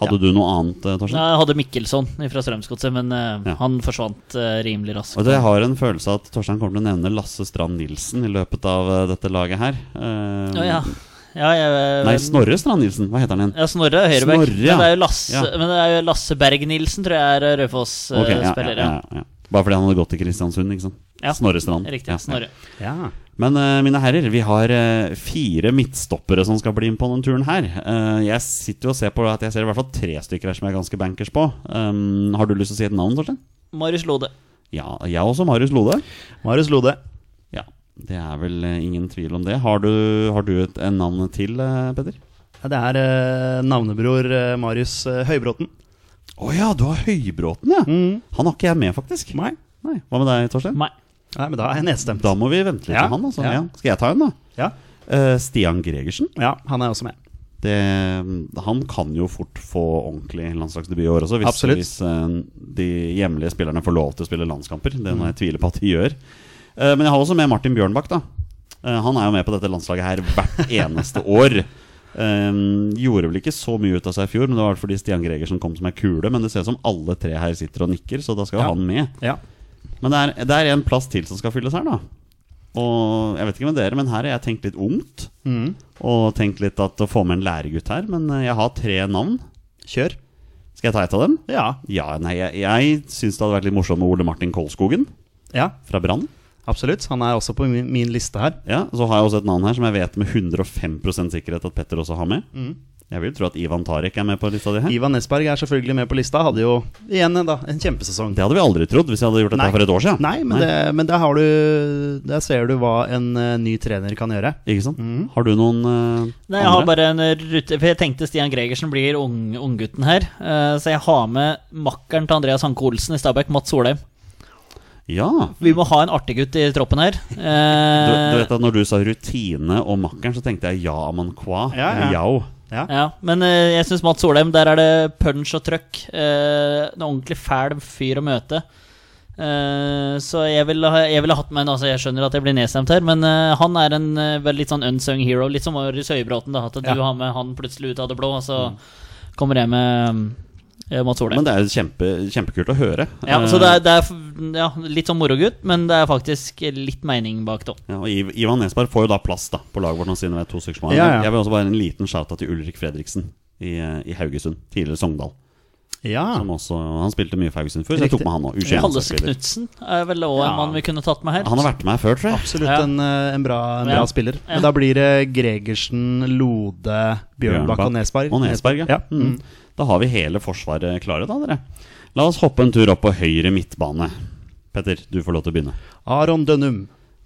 S2: Hadde du noe annet, eh, Torstein?
S3: Nei, Jeg hadde Mikkelsson fra Strømsgodset, men eh,
S2: Ja.
S3: han forsvant eh, rimelig raskt.
S2: Og det har en følelse av at Torstein kommer til å nevne Lasse Strand Nilsen i løpet av eh, dette laget her. Eh,
S3: Ja, ja. Ja, jeg, eh,
S2: Nei, Snorre Strand Nilsen. Hva heter han igjen?
S3: Ja, Snorre er høyreback.
S2: Snorre, ja.
S3: Men det er jo Lasse,
S2: Ja.
S3: men det er jo Lasse Berg-Nilsen, tror jeg er
S2: Ok,
S3: eh,
S2: ja, ja,
S3: Raufoss-spiller.
S2: ja, ja. Bare fordi han hadde gått til Kristiansund, ikke sant?
S3: Ja.
S2: Snorre Strand.
S3: Riktig.
S2: Ja, ja.
S3: Snorre.
S1: ja.
S2: Men eh, mine herrer, vi har eh, fire midtstoppere som skal bli med på denne turen her. Eh, jeg sitter jo og ser på at jeg ser i hvert fall tre stykker her som jeg er ganske bankers på. Um, har du lyst til å si et navn, Torstein?
S3: Marius Lode.
S2: Ja, jeg også. Marius Lode.
S1: Marius Lode.
S2: Ja, det er vel eh, ingen tvil om det. Har du, har du et en navn til, eh, Petter?
S1: Ja, det er eh, navnebror eh, Marius eh, Høybråten.
S2: Å ja, du har Høybråten, ja. Han har ikke jeg med, faktisk.
S1: Mm. Nei.
S2: Nei. Hva med deg, Torstein?
S3: Nei.
S1: Nei, men da er jeg nedstemt.
S2: Da må vi vente litt
S1: Ja,
S2: med han, altså.
S1: ja.
S2: Ja. Skal jeg ta en, da?
S1: Ja.
S2: Eh, Stian Gregersen.
S1: ja, han er også med.
S2: Det, han kan jo fort få ordentlig landslagsdebut i år også, hvis,
S1: Absolutt.
S2: hvis eh, de hjemlige spillerne får lov til å spille landskamper. Det
S1: Mm.
S2: må jeg tvile på at de gjør. Eh, men jeg har også med Martin Bjørnbakk, da. Eh, han er jo med på dette landslaget her hvert eneste år. Eh, gjorde vel ikke så mye ut av seg i fjor, men det var fordi Stian Gregersen kom som ei kule. Men det ser ut som alle tre her sitter og nikker, så da skal jo
S1: Ja.
S2: han med.
S1: Ja.
S2: Men det er, det er en plass til som skal fylles her, da. Og jeg vet ikke med dere, men her har jeg tenkt litt ungt.
S1: Mm.
S2: Og tenkt litt at å få med en læregutt her. Men eh, jeg har tre navn.
S1: Kjør.
S2: Skal jeg ta et av dem?
S1: Ja.
S2: Ja, nei, jeg, jeg syns det hadde vært litt morsomt med Ole Martin Kolskogen
S1: ja.
S2: fra Brann.
S1: Absolutt. Han er også på min, min liste her.
S2: Ja, Så har jeg også et navn her som jeg vet med 105 sikkerhet at Petter også har med.
S1: Mm.
S2: Jeg vil tro at Ivan Tarek er med på lista di her.
S1: Ivan Nesberg er selvfølgelig med på lista. Hadde jo igjen eh, da, en kjempesesong.
S2: Det hadde vi aldri trodd hvis jeg hadde gjort dette
S1: Nei.
S2: for et år siden.
S1: Nei, men, Det, men der, har du, der ser du hva en eh, ny trener kan gjøre.
S2: Ikke sant?
S1: Mm.
S2: Har du noen eh,
S3: Nei, jeg har bare en rute For jeg tenkte Stian Gregersen blir ung- unggutten her. eh, så jeg har med makkeren til Andreas Hanke Olsen i Stabæk, Mats Solheim.
S2: Ja.
S3: Vi må ha en artig gutt i troppen her.
S2: Du, du
S3: Eh,
S2: vet at Når du sa rutine og makkeren, så tenkte jeg ja amankwa.
S1: Ja, ja.
S2: Yao.
S3: ja, men eh, jeg syns Mats Solheim, der er det punch og trøkk. Eh, en ordentlig fæl fyr å møte. Eh, så jeg ville ha, jeg ville hatt med en altså Jeg skjønner at jeg blir nedstemt her, men eh, han er en eh, vel litt sånn unsung hero. Litt som Marius Høybråten, da. At du
S1: Ja.
S3: har med han plutselig ut av det blå, og så kommer jeg med eh, Mats Solheim.
S2: Mm. Men det er jo kjempe, kjempekult å høre.
S3: Ja,
S2: Eh,
S3: så det er, det er f- ja, litt sånn morogutt, men det er faktisk litt mening bak det òg.
S2: Eh, ja, og Iv- Ivan Nesberg får jo da plass da på laget vårt nå, siden vi er to stykker som har
S1: Ja,
S2: det.
S1: ja.
S2: Jeg vil også bare en liten shout-out til Ulrik Fredriksen i, eh, i Haugesund. Tidligere Sogndal.
S1: Ja.
S2: Som også, han spilte mye for Haugesund før, så jeg
S1: Ah. Riktig.
S2: tok med han òg.
S3: Halles Knutsen er vel òg en
S1: Ja.
S3: mann vi kunne tatt med her.
S2: Han har vært med her før, tror jeg.
S1: Absolutt
S3: Ja.
S1: en, eh, en bra, en bra
S3: Ja.
S1: spiller.
S3: Ja.
S1: Men da blir det Gregersen, Lode, Bjørnbakk og Nesberg.
S2: Og Nesberg, ja. Mm. Da har vi hele Forsvaret klare, da, dere. La oss hoppe en tur opp på høyre midtbane. Petter, du får lov til å begynne.
S1: Aron Dønnum.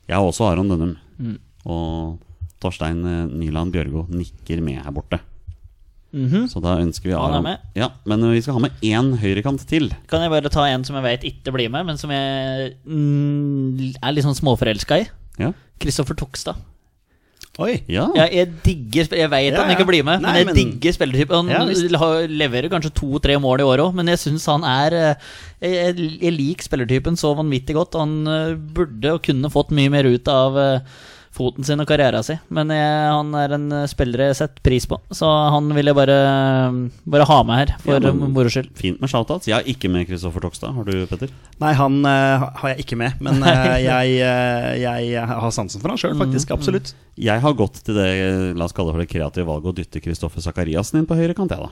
S2: Jeg har også Aron Dønnum.
S1: Mm.
S2: Og Torstein eh, Nyland Bjørgo nikker med her borte.
S3: Mhm.
S2: Så da ønsker vi
S3: Han er
S2: Aron
S3: med.
S2: Ja, Men eh, vi skal ha med én høyrekant til.
S3: Kan jeg bare ta en som jeg vet ikke blir med, men som jeg mm, er litt sånn småforelska i?
S2: Ja.
S3: Kristoffer Tokstad.
S1: Oi!
S2: ja.
S3: Jeg, jeg digger sp- Jeg vet
S1: Ja,
S3: at han ikke
S1: ja.
S3: blir med,
S1: Nei,
S3: men jeg
S1: men-
S3: digger spillertypen.
S1: Ja,
S3: Han
S1: visst.
S3: har- leverer kanskje to-tre mål i året òg, men jeg syns han er eh, Jeg, jeg, jeg liker spillertypen så vanvittig godt. og Han eh, burde og kunne fått mye mer ut av eh, foten sin og karrieren sin, men jeg, han er en eh, spiller jeg setter pris på, så han vil jeg bare, eh, bare ha med her, for
S2: Ja,
S3: ja,
S2: men-
S3: moro skyld.
S2: Fint med shoutouts. Jeg har ikke med Kristoffer Tokstad. Har du, Petter?
S1: Nei, han eh, har jeg ikke med, men eh, jeg, eh, jeg har sansen for han sjøl, faktisk. Absolutt.
S2: Jeg har gått til det eh, la oss kalle det for det kreative valget å dytte Kristoffer Sakariassen inn på høyre kant, jeg, da.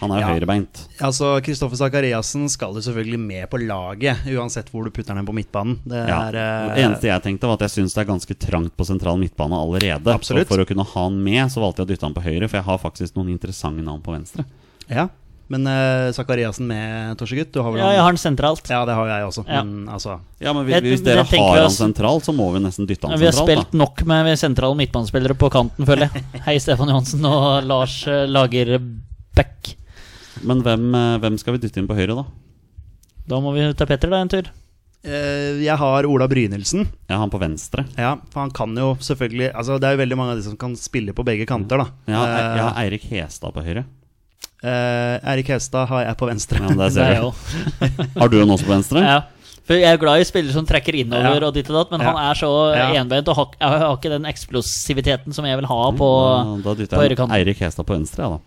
S2: Han er jo
S1: Ja.
S2: høyrebeint.
S1: Altså, Kristoffer Sakariassen skal jo selvfølgelig med på laget, uansett hvor du putter den på midtbanen. Det
S2: Ja.
S1: er
S2: Det
S1: eh,
S2: eneste jeg tenkte, var at jeg syns det er ganske trangt på sentral midtbane allerede.
S1: Absolutt.
S2: Så for å kunne ha han med, så valgte jeg å dytte han på høyre, for jeg har faktisk noen interessante navn på venstre.
S1: Ja. Men uh, Sakariassen med, Torsegutt? Du har vel
S3: Ja, jeg har han sentralt.
S1: Ja, det har jeg også.
S3: Ja.
S1: Men altså
S2: Ja, men hvis,
S3: Jeg-
S2: hvis
S3: jeg
S2: dere
S3: tenker
S2: har
S3: vi
S2: han
S3: har-
S2: sentralt, så må vi nesten dytte han
S3: Vi har
S2: sentralt.
S3: spilt nok med sentrale midtbanespillere på kanten, føler jeg. Hei, Stefan Johansen og Lars eh, Lagerbäck.
S2: Da. Men hvem, eh, hvem skal vi dytte inn på høyre, da?
S3: Da må vi ta Petter da en tur.
S1: eh, Jeg har Ola Brynildsen.
S2: Ja, han på venstre.
S1: Ja, for han kan jo selvfølgelig Altså, det er jo veldig mange av de som kan spille på begge kanter, da.
S2: Jeg har, jeg
S1: Eh,
S2: har Eirik Hestad på høyre.
S1: eh, Erik Hestad har jeg på venstre.
S2: Ja, men der
S3: Det
S2: ser
S3: er
S2: du.
S3: jo
S2: Har du han også på venstre?
S3: ja. For jeg er glad i spillere som trekker innover
S1: Ja.
S3: og ditt og datt, men
S1: Ja.
S3: han er så
S1: Ja.
S3: enbeint og har, ikke- har ikke den eksplosiviteten som jeg vil ha på,
S2: Da- da
S3: på
S2: dytter jeg
S3: høyrekanten.
S2: Eirik Hestad på venstre, ja, da.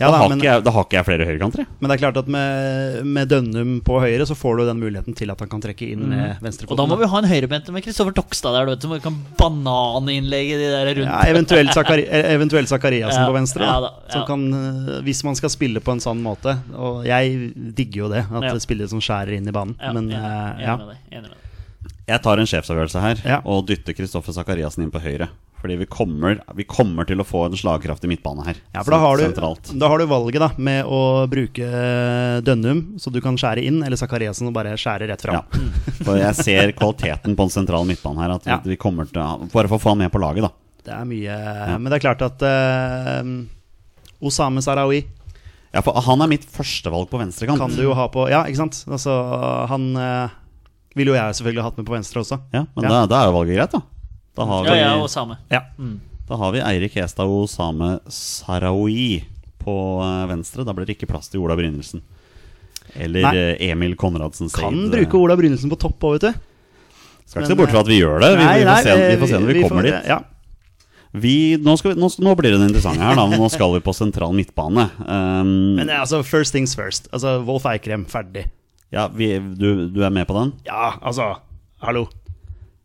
S1: Ja,
S2: da,
S1: da,
S2: har
S1: men,
S2: ikke jeg, da har ikke jeg flere høyrekanter, jeg.
S1: men det er klart at med, med Dønnum på høyre, så får du den muligheten til at han kan trekke inn mm.
S3: Og da
S1: venstrefoten.
S3: må vi ha en høyrebente med Kristoffer Dokstad der, du vet, som kan bananinnlegge de der rundt.
S1: Ja, eventuelt, Zakari, eh, eventuelt Zakariassen
S3: Ja,
S1: på venstre.
S3: ja
S1: Da,
S3: da, ja.
S1: Som kan, eh, hvis man skal spille på en sånn måte. Og jeg digger jo det, at
S3: Ja.
S1: det er spillere som skjærer inn i banen.
S3: Ja,
S1: men
S3: enig, enig
S1: eh, ja.
S3: med deg, enig med deg.
S2: Jeg tar en sjefsavgjørelse her
S1: Ja.
S2: og dytter Kristoffer Sakariassen inn på høyre. Fordi vi kommer, vi kommer til å få en slagkraftig midtbane her.
S1: Ja, for da har,
S2: Sentralt.
S1: du, da har du valget da med å bruke eh, Dønnum, så du kan skjære inn, eller Zakariassen og bare skjære rett fram.
S2: Ja. For jeg ser kvaliteten på en sentral midtbane her. At
S1: Ja.
S2: vi kommer til å, Bare for å få han med på laget, da.
S1: Det er mye Men det er klart at eh, Osame Sarawi
S2: Ja, for Han er mitt førstevalg på venstrekant.
S1: kan du jo ha på Ja, ikke sant? Altså, han eh, ville jo jeg selvfølgelig hatt med på venstre også.
S2: Ja, men
S1: Ja.
S2: Da, da er jo valget greit, da. Da har vi,
S3: Ja, ja, og same.
S1: Ja.
S2: da har vi Eirik Hestad og Osame Sarawi på eh, venstre. Da blir det ikke plass til Ola Brynildsen. Eller
S1: Nei.
S2: eh, Emil Konradsen Seid.
S1: Kan bruke Ola Brynildsen på topp òg, vet du.
S2: Skal ikke se bort fra at vi gjør det. Vi, vi, får, se,
S1: eh,
S2: vi får se når vi, kommer dit.
S1: Ja.
S2: Vi, nå, skal vi, nå, nå blir det interessant her, da. men Nå skal vi på sentral midtbane. Um,
S1: Men eh, altså, first things first. Altså, Wolf Eikrem, ferdig.
S2: ja, vi, du, du er med på den?
S1: Ja, altså Hallo.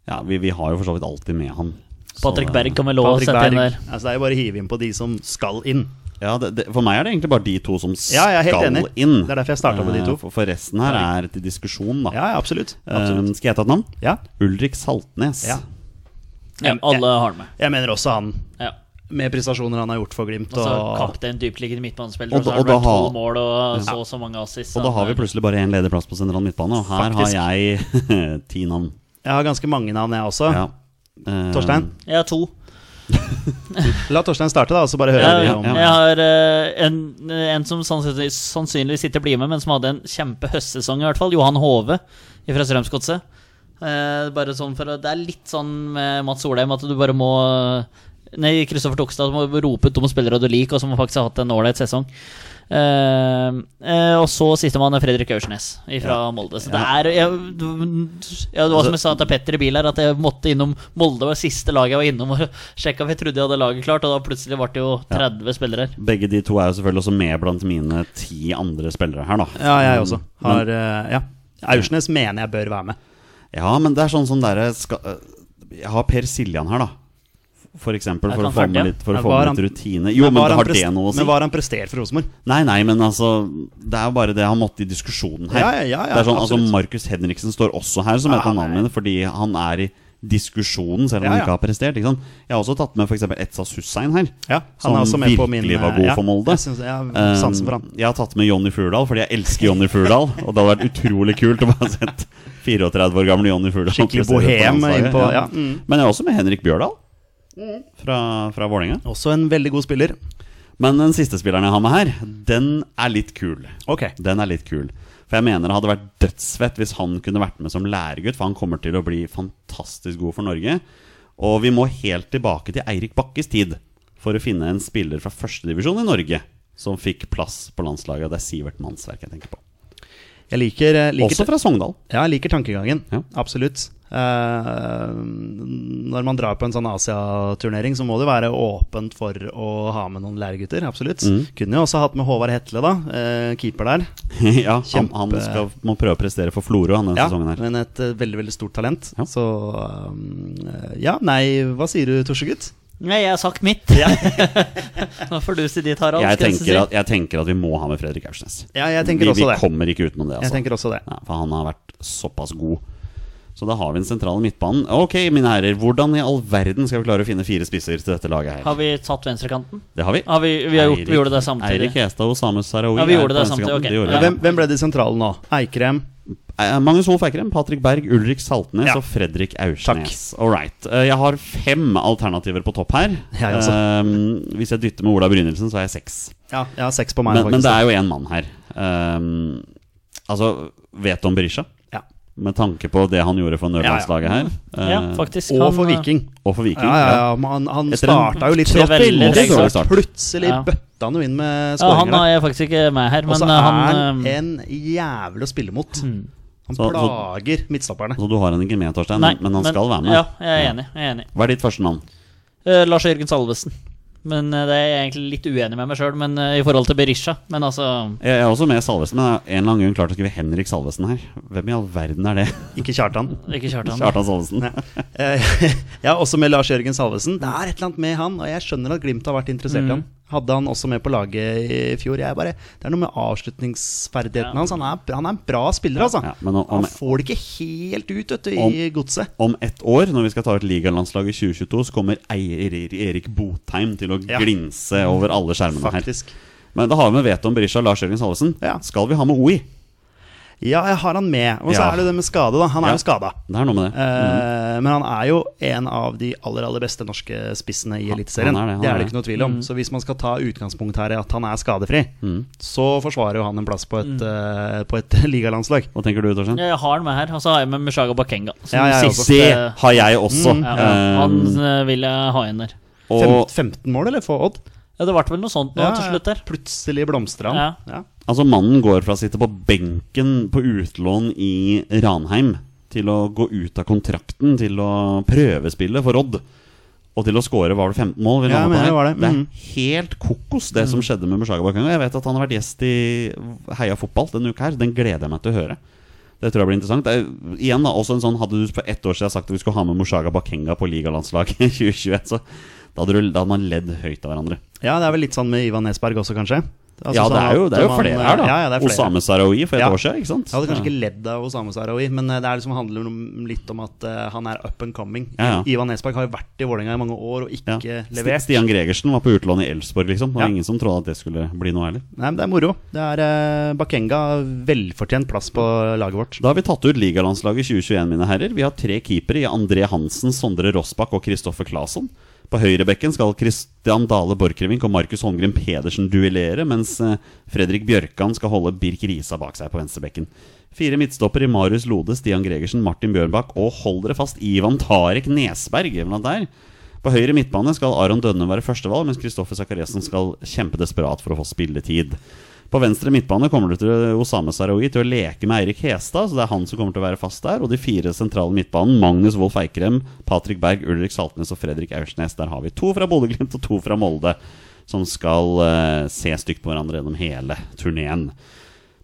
S2: Ja, vi, vi har jo for så vidt alltid med han. Så eh,
S3: Patrick
S2: det-
S3: Berg kan vel lov
S1: eh,
S3: å
S1: Patrick
S3: sette
S1: Berg.
S3: inn der.
S1: Altså, det er jo bare å hive inn på de som skal inn.
S2: Ja, det, det, For meg er det egentlig bare de to som skal
S1: Ja, jeg er helt enig.
S2: inn.
S1: Det er derfor jeg startet med de to.
S2: Eh, For, for resten her er til diskusjon, da.
S1: Ja, ja absolutt.
S2: Eh,
S1: absolutt.
S2: skal jeg ta et navn?
S1: Ja.
S2: Ulrik Saltnes.
S1: Ja.
S3: Ja, alle har den med.
S1: Jeg mener også han,
S3: Ja.
S1: med prestasjoner han har gjort for Glimt.
S3: Altså,
S1: Og,
S3: kaptein, dyptliggende midtbanespiller,
S2: Og
S3: og så
S2: da-
S3: har
S2: og
S3: det
S2: da
S3: vært tolv
S2: har-
S3: mål og så og så mange assists.
S2: Og da
S3: så
S2: har vi
S3: det-
S2: plutselig bare én ledig plass på sentral midtbane, og her
S1: Faktisk.
S2: har jeg ti navn.
S1: jeg har ganske mange navn, jeg også.
S2: Ja. Eh,
S1: Torstein?
S3: Jeg har to.
S1: La Torstein starte, da, og så bare høre
S3: Jeg,
S1: vi
S2: ja,
S1: om
S3: jeg har eh, en, en som sannsynligvis, sannsynligvis ikke blir med, men som hadde en kjempe høstsesong, i hvert fall. Johan Hove fra Strømsgodset. Eh, bare sånn for å- Det er litt sånn med Mats Solheim at du bare må eh, Nei, Kristoffer Tokstad må rope ut de spillere du liker, og som faktisk har hatt en ålreit sesong. Eh, eh, og så sistemann er Fredrik Aursnes fra Molde. Så det er jeg, du- ja, Det
S2: Altså
S3: var som jeg sa til Petter i bil her, at jeg måtte innom Molde. var det siste laget jeg var innom og sjekka om jeg trodde jeg hadde laget klart, og da plutselig ble det jo 30 spillere.
S2: Begge de to er jo selvfølgelig også med blant mine ti andre spillere her, da.
S1: Ja, jeg også. Har, eh, ja. Aursnes mener jeg bør være med.
S2: Ja, men det er sånn som dere skal øh, Jeg har Per Siljan her, da. For eksempel,
S3: Er
S2: for å
S3: han
S2: få
S3: ferdig?
S2: med litt, for
S1: Men
S2: å få
S1: var
S2: med
S1: han-
S2: litt rutine. Jo, men,
S1: var han
S2: har det
S1: prest-
S2: noe å si?
S1: Men var han prestert for Rosenborg?
S2: Nei, nei, men altså Det er jo bare det han måtte i diskusjonen her.
S1: Ja, ja, ja, ja,
S2: det er sånn, altså
S1: absolutt.
S2: Markus Henriksen står også her som et av navnene mine, fordi han er i diskusjonen, selv om
S1: Ja,
S2: han
S1: ja.
S2: ikke har prestert. Ikke sant? Jeg har også tatt med f.eks. Etsas Hussein her,
S1: Ja, han
S2: som
S1: er også med
S2: virkelig
S1: på min, eh,
S2: var god
S1: ja,
S2: for Molde.
S1: jeg synes- jeg har
S2: Eh,
S1: sansen for han.
S2: Jeg har tatt med Jonny Furdal, fordi jeg elsker Jonny Furdal. og det hadde vært utrolig kult å bare sett 34 år gamle Jonny Furdal.
S1: Skikkelig
S2: prestere på
S1: bohem
S2: landslaget,
S1: inn på- ja, mm.
S2: Men jeg er også med Henrik Bjørdal fra, fra Vålerenga.
S1: Også en veldig god spiller.
S2: Men den siste spilleren jeg har med her, den er litt kul.
S1: Ok.
S2: Den er litt kul. For jeg mener det hadde vært dødsfett hvis han kunne vært med som læregutt, for han kommer til å bli fantastisk god for Norge. Og vi må helt tilbake til Eirik Bakkes tid for å finne en spiller fra førstedivisjon i Norge som fikk plass på landslaget. Og det er Sivert Mannsverk jeg tenker på.
S1: Jeg liker, eh, liker
S2: Også fra Sogndal.
S1: Ja, jeg liker tankegangen.
S2: Ja.
S1: Absolutt. Eh, når man drar på en sånn Asia-turnering, så må det være åpent for å ha med noen læregutter. Absolutt.
S2: Mm.
S1: Kunne jo også hatt med Håvard Hetle, da. eh, keeper der.
S2: ja, han, han
S1: Kjempe-
S2: skal, må prøve å prestere for Florø han, denne
S1: Ja,
S2: sesongen her.
S1: men et eh, veldig veldig stort talent.
S2: Ja.
S1: Så eh, Ja, nei, hva sier du, Torsegutt?
S3: Nei, jeg har sagt mitt. Nå får du si ditt, Harald.
S2: Jeg
S3: skal jeg
S2: tenker,
S3: si.
S2: at, jeg tenker at vi må ha med Fredrik Aursnes.
S1: Ja, jeg tenker
S2: vi,
S1: også
S2: vi
S1: det.
S2: kommer ikke utenom det. Altså.
S1: Jeg tenker også det.
S2: Ja, for han har vært såpass god. Så da har vi den sentrale midtbanen. Ok, mine herrer, hvordan i all verden skal vi klare å finne fire spisser til dette laget her?
S3: Har vi tatt venstrekanten?
S2: Det har vi.
S3: Har vi, vi, har gjort, vi gjorde det samtidig.
S2: Eirik Hestad og Samus Sarawi.
S3: Ja, vi
S2: er
S3: gjorde
S2: på
S3: det
S2: venstrekanten.
S3: samtidig, ok.
S2: Det gjorde
S3: Ja.
S2: vi.
S1: Hvem, hvem ble det i sentralen nå? Eikrem?
S2: Eh, Magnus Hoff Eikrem, Patrick Berg, Ulrik Saltnes
S1: Ja.
S2: og Fredrik Aursnes. All right. Eh, Jeg har fem alternativer på topp her.
S1: Jeg også.
S2: Eh, hvis jeg dytter med Ola Brynildsen, så har jeg seks.
S1: Ja, jeg har seks på meg,
S2: Men, men
S1: faktisk.
S2: det er jo én mann her. Eh, altså, vet du om Berisha?
S1: Ja.
S2: Med tanke på det han gjorde for Nørlandslaget her.
S3: Ja,
S2: Eh,
S3: faktisk.
S1: Og
S3: han,
S1: for
S3: eh,
S1: Viking.
S2: Og for Viking.
S1: Ja, ja, ja. men Han, han
S2: Etter en
S1: starta jo litt
S3: veldig
S1: trått, veldig
S3: dårlig
S1: trått.
S2: start.
S1: Plutselig
S3: Ja.
S1: bøtta han jo inn med
S3: eh, Ja, han
S1: skåringer.
S3: har jeg faktisk ikke med her,
S1: og
S3: men
S1: så
S3: eh,
S1: er
S3: han
S1: han
S3: eh,
S1: en jævel å spille mot. Han
S2: Hmm. Så- så-
S1: plager midtstopperne.
S2: Så du har han ikke med, Torstein,
S3: Nei,
S2: men han skal være med.
S3: Ja, jeg er enig. Jeg er enig.
S2: Hva er ditt første navn?
S3: Eh, Lars Jørgen Salvesen. Men eh, det er jeg egentlig litt uenig med meg sjøl, men eh, i forhold til Berisha. Men altså
S2: Jeg er også med Salvesen, men jeg har en eller annen grunn klart å skrive Henrik Salvesen her. Hvem i all verden er det?
S1: Ikke Kjartan.
S3: Ikke Kjartan.
S2: Kjartan Salvesen.
S1: Nei. Eh, Ja, også med Lars Jørgen Salvesen. Det er et eller annet med han, og jeg skjønner at Glimt har vært
S2: Hmm.
S1: interessert i han. Hadde han også med på laget i fjor. Jeg bare, det er noe med avslutningsferdighetene hans. Han er, han er en bra spiller, altså.
S2: Ja, men om- om-
S1: han får det ikke helt ut vet du, i
S2: Om-
S1: godset.
S2: Om ett år, når vi skal ta ut ligalandslaget i 2022, så kommer eier Erik Botheim til å
S1: Ja.
S2: glinse over alle skjermene
S1: Faktisk.
S2: her. Men da har vi med Veton Berisha Lars Jørgen Salvesen.
S1: Ja.
S2: Skal vi ha med OI?
S1: Ja, jeg har han med. Og så
S2: Ja.
S1: er det jo det med skade, da. Han
S2: Ja.
S1: er jo skada.
S2: Det er noe med det.
S1: Eh, Men han er jo en av de aller aller beste norske spissene i Eliteserien.
S2: han er det, han
S1: Det
S2: er
S1: er
S2: det.
S1: det
S2: Mm.
S1: ikke noe tvil om. Så hvis man skal ta utgangspunkt her i at han er skadefri, så forsvarer jo han en plass på et, eh, på et ligalandslag.
S2: Hva tenker du, Torstein?
S3: Jeg har han med her, og så har jeg med Mushaga Bakenga. Som
S1: Ja, jeg
S3: siste,
S2: Det har jeg også.
S3: ja,
S2: Eh,
S3: Han eh, vil jeg ha inn der.
S2: og
S1: mm, Fem- 15 mål, eller? For Odd?
S3: Ja, det ble vel noe sånt nå til slutt der.
S1: Plutselig blomstra han. Ja.
S2: altså, mannen går fra å sitte på benken på utlån i Ranheim til å gå ut av kontrakten, til å prøvespille for Odd. Og til å skåre var det 15 mål. vi
S1: Ja,
S2: landet på
S1: jeg mener
S2: her.
S1: det var det. Mhm.
S2: er helt kokos, det som skjedde med Mushaga Bakanga. Jeg vet at han har vært gjest i Heia fotball denne uka her. Den gleder jeg meg til å høre. Det tror jeg blir interessant. Det er, igjen da, også en sånn Hadde du for ett år siden sagt at vi skulle ha med Mushaga Bakenga på ligalandslaget i 2021, så da hadde, du, da hadde man ledd høyt av hverandre.
S1: ja, det er vel litt sånn med Ivan Nesberg også, kanskje. Altså,
S2: ja, det
S1: sånn
S2: er jo,
S1: at
S2: det er jo
S1: man-
S2: flere her, da.
S1: Ja, ja, det er flere.
S2: Osame Sarawi for et
S1: Ja.
S2: år siden, ikke sant?
S1: Jeg hadde kanskje ikke ledd av Osame Sarawi, men eh, det er liksom handler om, litt om at eh, han er up and coming.
S2: Ja, ja.
S1: Ivan Nesberg har jo vært i Vålerenga i mange år og ikke
S2: Sti-
S1: levert.
S2: Stian Gregersen var på utlån i Elfsborg, liksom. Det var
S1: Ja.
S2: ingen som trodde at det skulle bli noe heller.
S1: Nei, men Det er moro. Det er eh, Bakenga velfortjent plass på laget vårt.
S2: Da har vi tatt ut ligalandslaget 2021, mine herrer. Vi har tre keepere i André Hansen, Sondre Rossbakk og Kristoffer Claesson. På høyrebekken skal Christian Dale Borchgrevink og Markus Holmgren Pedersen duellere, mens eh, Fredrik Bjørkan skal holde Birk Risa bak seg på venstrebekken. Fire midtstopper i Marius Lode, Stian Gregersen, Martin Bjørnbakk og hold dere fast, Ivan Tarek Nesberg. Blant der. På høyre midtbane skal Aron Dønne være førstevalg, mens Kristoffer Sakariassen skal kjempe desperat for å få spilletid. På venstre midtbane kommer du til Osame Sarawi til å leke med Eirik Hestad, så det er han som kommer til å være fast der. Og de fire sentrale midtbanen, Magnus Wolff Eikrem, Patrick Berg, Ulrik Saltnes og Fredrik Aursnes. Der har vi to fra Bodø-Glimt og to fra Molde, som skal eh, se stygt på hverandre gjennom hele turneen.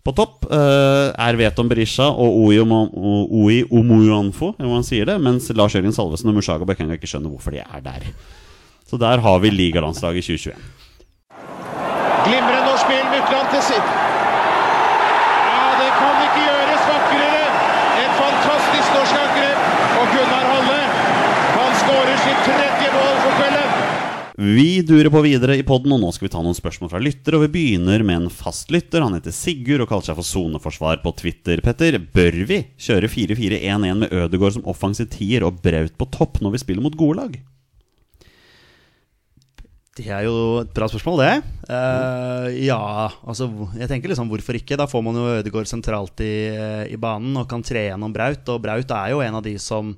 S2: På topp eh, er Veton Berisha og Oi Omo- Oi Omoyanfo, eller hvordan han sier det, mens Lars Jørgen Salvesen og Mushaga Bekenga ikke skjønner hvorfor de er der. Så der har vi ligalandslaget 2021.
S4: Glimrende spill Mykland til sitt. Ja, det kan ikke gjøres vakrere. Et fantastisk norsk angrep. Og Gunnar Halle, han skårer sitt tredje mål for kvelden.
S2: Vi durer på videre i podden, og nå skal vi ta noen spørsmål fra lytter. Og vi begynner med en fast lytter. Han heter Sigurd og kaller seg for Soneforsvar på Twitter. Petter, bør vi kjøre 4-4-1-1 med Ødegaard som offensiv tier og Braut på topp når vi spiller mot gode lag?
S1: Det er jo et bra spørsmål, det. Eh, ja, altså hvor- jeg tenker liksom hvorfor ikke? Da får man jo Ødegaard sentralt i, eh, i banen og kan tre gjennom Braut. Og Braut er jo en av de som,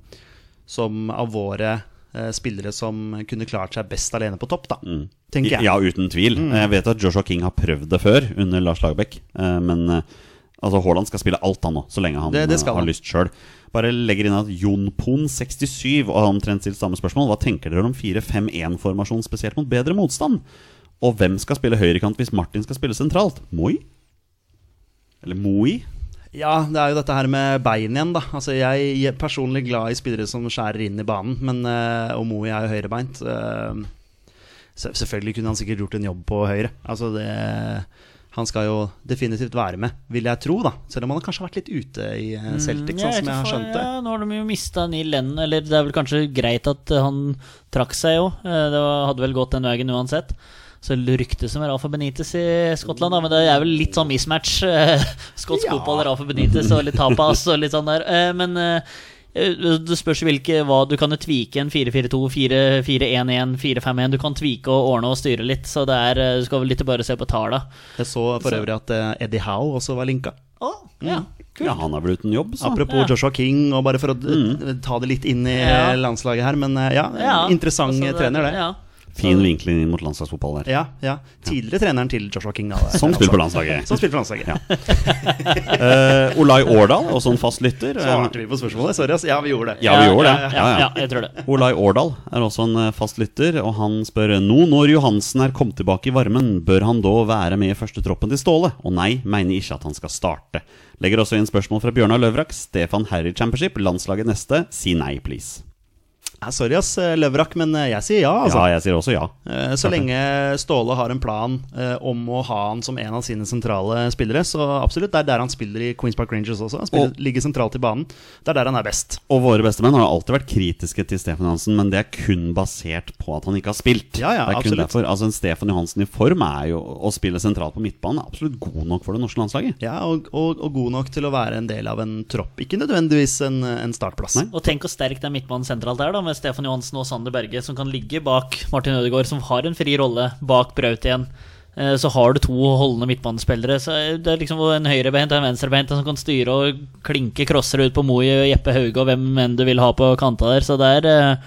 S1: som av våre eh, spillere som kunne klart seg best alene på topp, da. Tenker jeg. Mm.
S2: Ja, uten tvil. Jeg vet at Joshua King har prøvd det før, under Lars Lagerbäck. eh, Men eh, altså, Haaland skal spille alt, han nå, så lenge han
S1: Det- det
S2: eh,
S1: skal
S2: har
S1: han.
S2: lyst sjøl. Bare legger inn at Jon Pon, 67, og har omtrent stilt samme spørsmål. Hva tenker dere om 4-5-1-formasjon spesielt mot bedre motstand? Og hvem skal spille høyrekant hvis Martin skal spille sentralt? Moi? Eller Moi?
S1: Ja, det er jo dette her med bein igjen, da. Altså, jeg er personlig glad i spillere som skjærer inn i banen, men uh, Omoi er jo høyrebeint. eh, så selvfølgelig kunne han sikkert gjort en jobb på høyre. Altså, det, han skal jo definitivt være med, vil jeg tro, da. Selv om han kanskje har vært litt ute i
S3: Mm,
S1: eh, Celtic, sånn som jeg har skjønt det.
S3: Ja, nå har de jo mista Neil Lennon, eller det er vel kanskje greit at eh, han trakk seg, jo. Eh, Det var- hadde vel gått den veien uansett. Så ryktes som Rafa Benitez i Skottland, da, men det er vel litt sånn mismatch. eh, Skotsk fotball, Rafa Benitez og litt tapas og litt sånn der. Eh, Men eh, eh, det spørs hvilke hva Du kan jo tvike en 4-4-2, 4-4-1-1, 4-5-1. Du kan tvike og ordne og styre litt, så det er, eh, du skal vel litt bare se på talla.
S1: Jeg så for øvrig at eh, Eddie Howe også var linka.
S3: Å, ja. Kult.
S2: Ja, han er vel uten jobb, så.
S1: Apropos
S3: Ja. Mm.
S1: Joshua King, og bare for å eh, ta det litt inn i
S3: Ja.
S1: landslaget her, men eh, ja,
S3: Ja,
S1: interessant
S3: altså, det-
S1: trener, det.
S3: Ja.
S2: Fin vinkling inn mot landslagsfotball der.
S1: Ja, ja. Tidligere treneren til Joshua King, da. det er-
S2: Som spiller på landslaget.
S1: Som spiller på landslaget.
S2: Ja.
S1: Sånn.
S2: Eh, Olai Årdal, også en fast lytter.
S1: Svarte vi på spørsmålet? Sorry, ass. Ja, vi gjorde det.
S2: Ja, vi gjorde det.
S3: Ja, ja,
S2: Ja, ja.
S3: ja, jeg tror det.
S2: Olai Årdal er også en eh, fast lytter, og han spør nå når Johansen er kommet tilbake i varmen, bør han da være med i førstetroppen til Ståle? Og nei, mener ikke at han skal starte. Legger også inn spørsmål fra Bjørnar Løvrak. Stefan Harry Championship, landslaget neste. Si nei, please.
S1: Ja, Eh, sorry, ass, Løvrak, men eh, jeg sier ja, altså.
S2: Ja, jeg sier også ja.
S1: Eh, Så lenge Ståle har en plan eh, om å ha han som en av sine sentrale spillere, så absolutt. Det er der han spiller i Queens Park Rangers også. Han
S2: Og-
S1: spiller, ligger sentralt i banen. Det er der han er best.
S2: Og våre bestemenn har jo alltid vært kritiske til Stefan Johansen, men det er kun basert på at han ikke har spilt.
S1: Ja, ja,
S2: det er kun
S1: absolutt.
S2: derfor, altså En Stefan Johansen i form er jo å spille sentralt på midtbanen er absolutt god nok for det norske landslaget.
S1: Ja, og, og, og god nok til å være en del av en tropp. Ikke nødvendigvis en, en startplass.
S2: Nei.
S3: Og tenk hvor sterk den midtbanen sentralt er, da, med Stefan Johansen og Sander Berge, som kan ligge bak Martin Ødegaard, som har en fri rolle bak Braut igjen. Eh, Så har du to holdende midtbanespillere. Så det er liksom en høyrebeint og en venstrebeint som kan styre og klinke crossere ut på Moi og Jeppe Hauge og hvem enn du vil ha på kanta der. Så det er eh,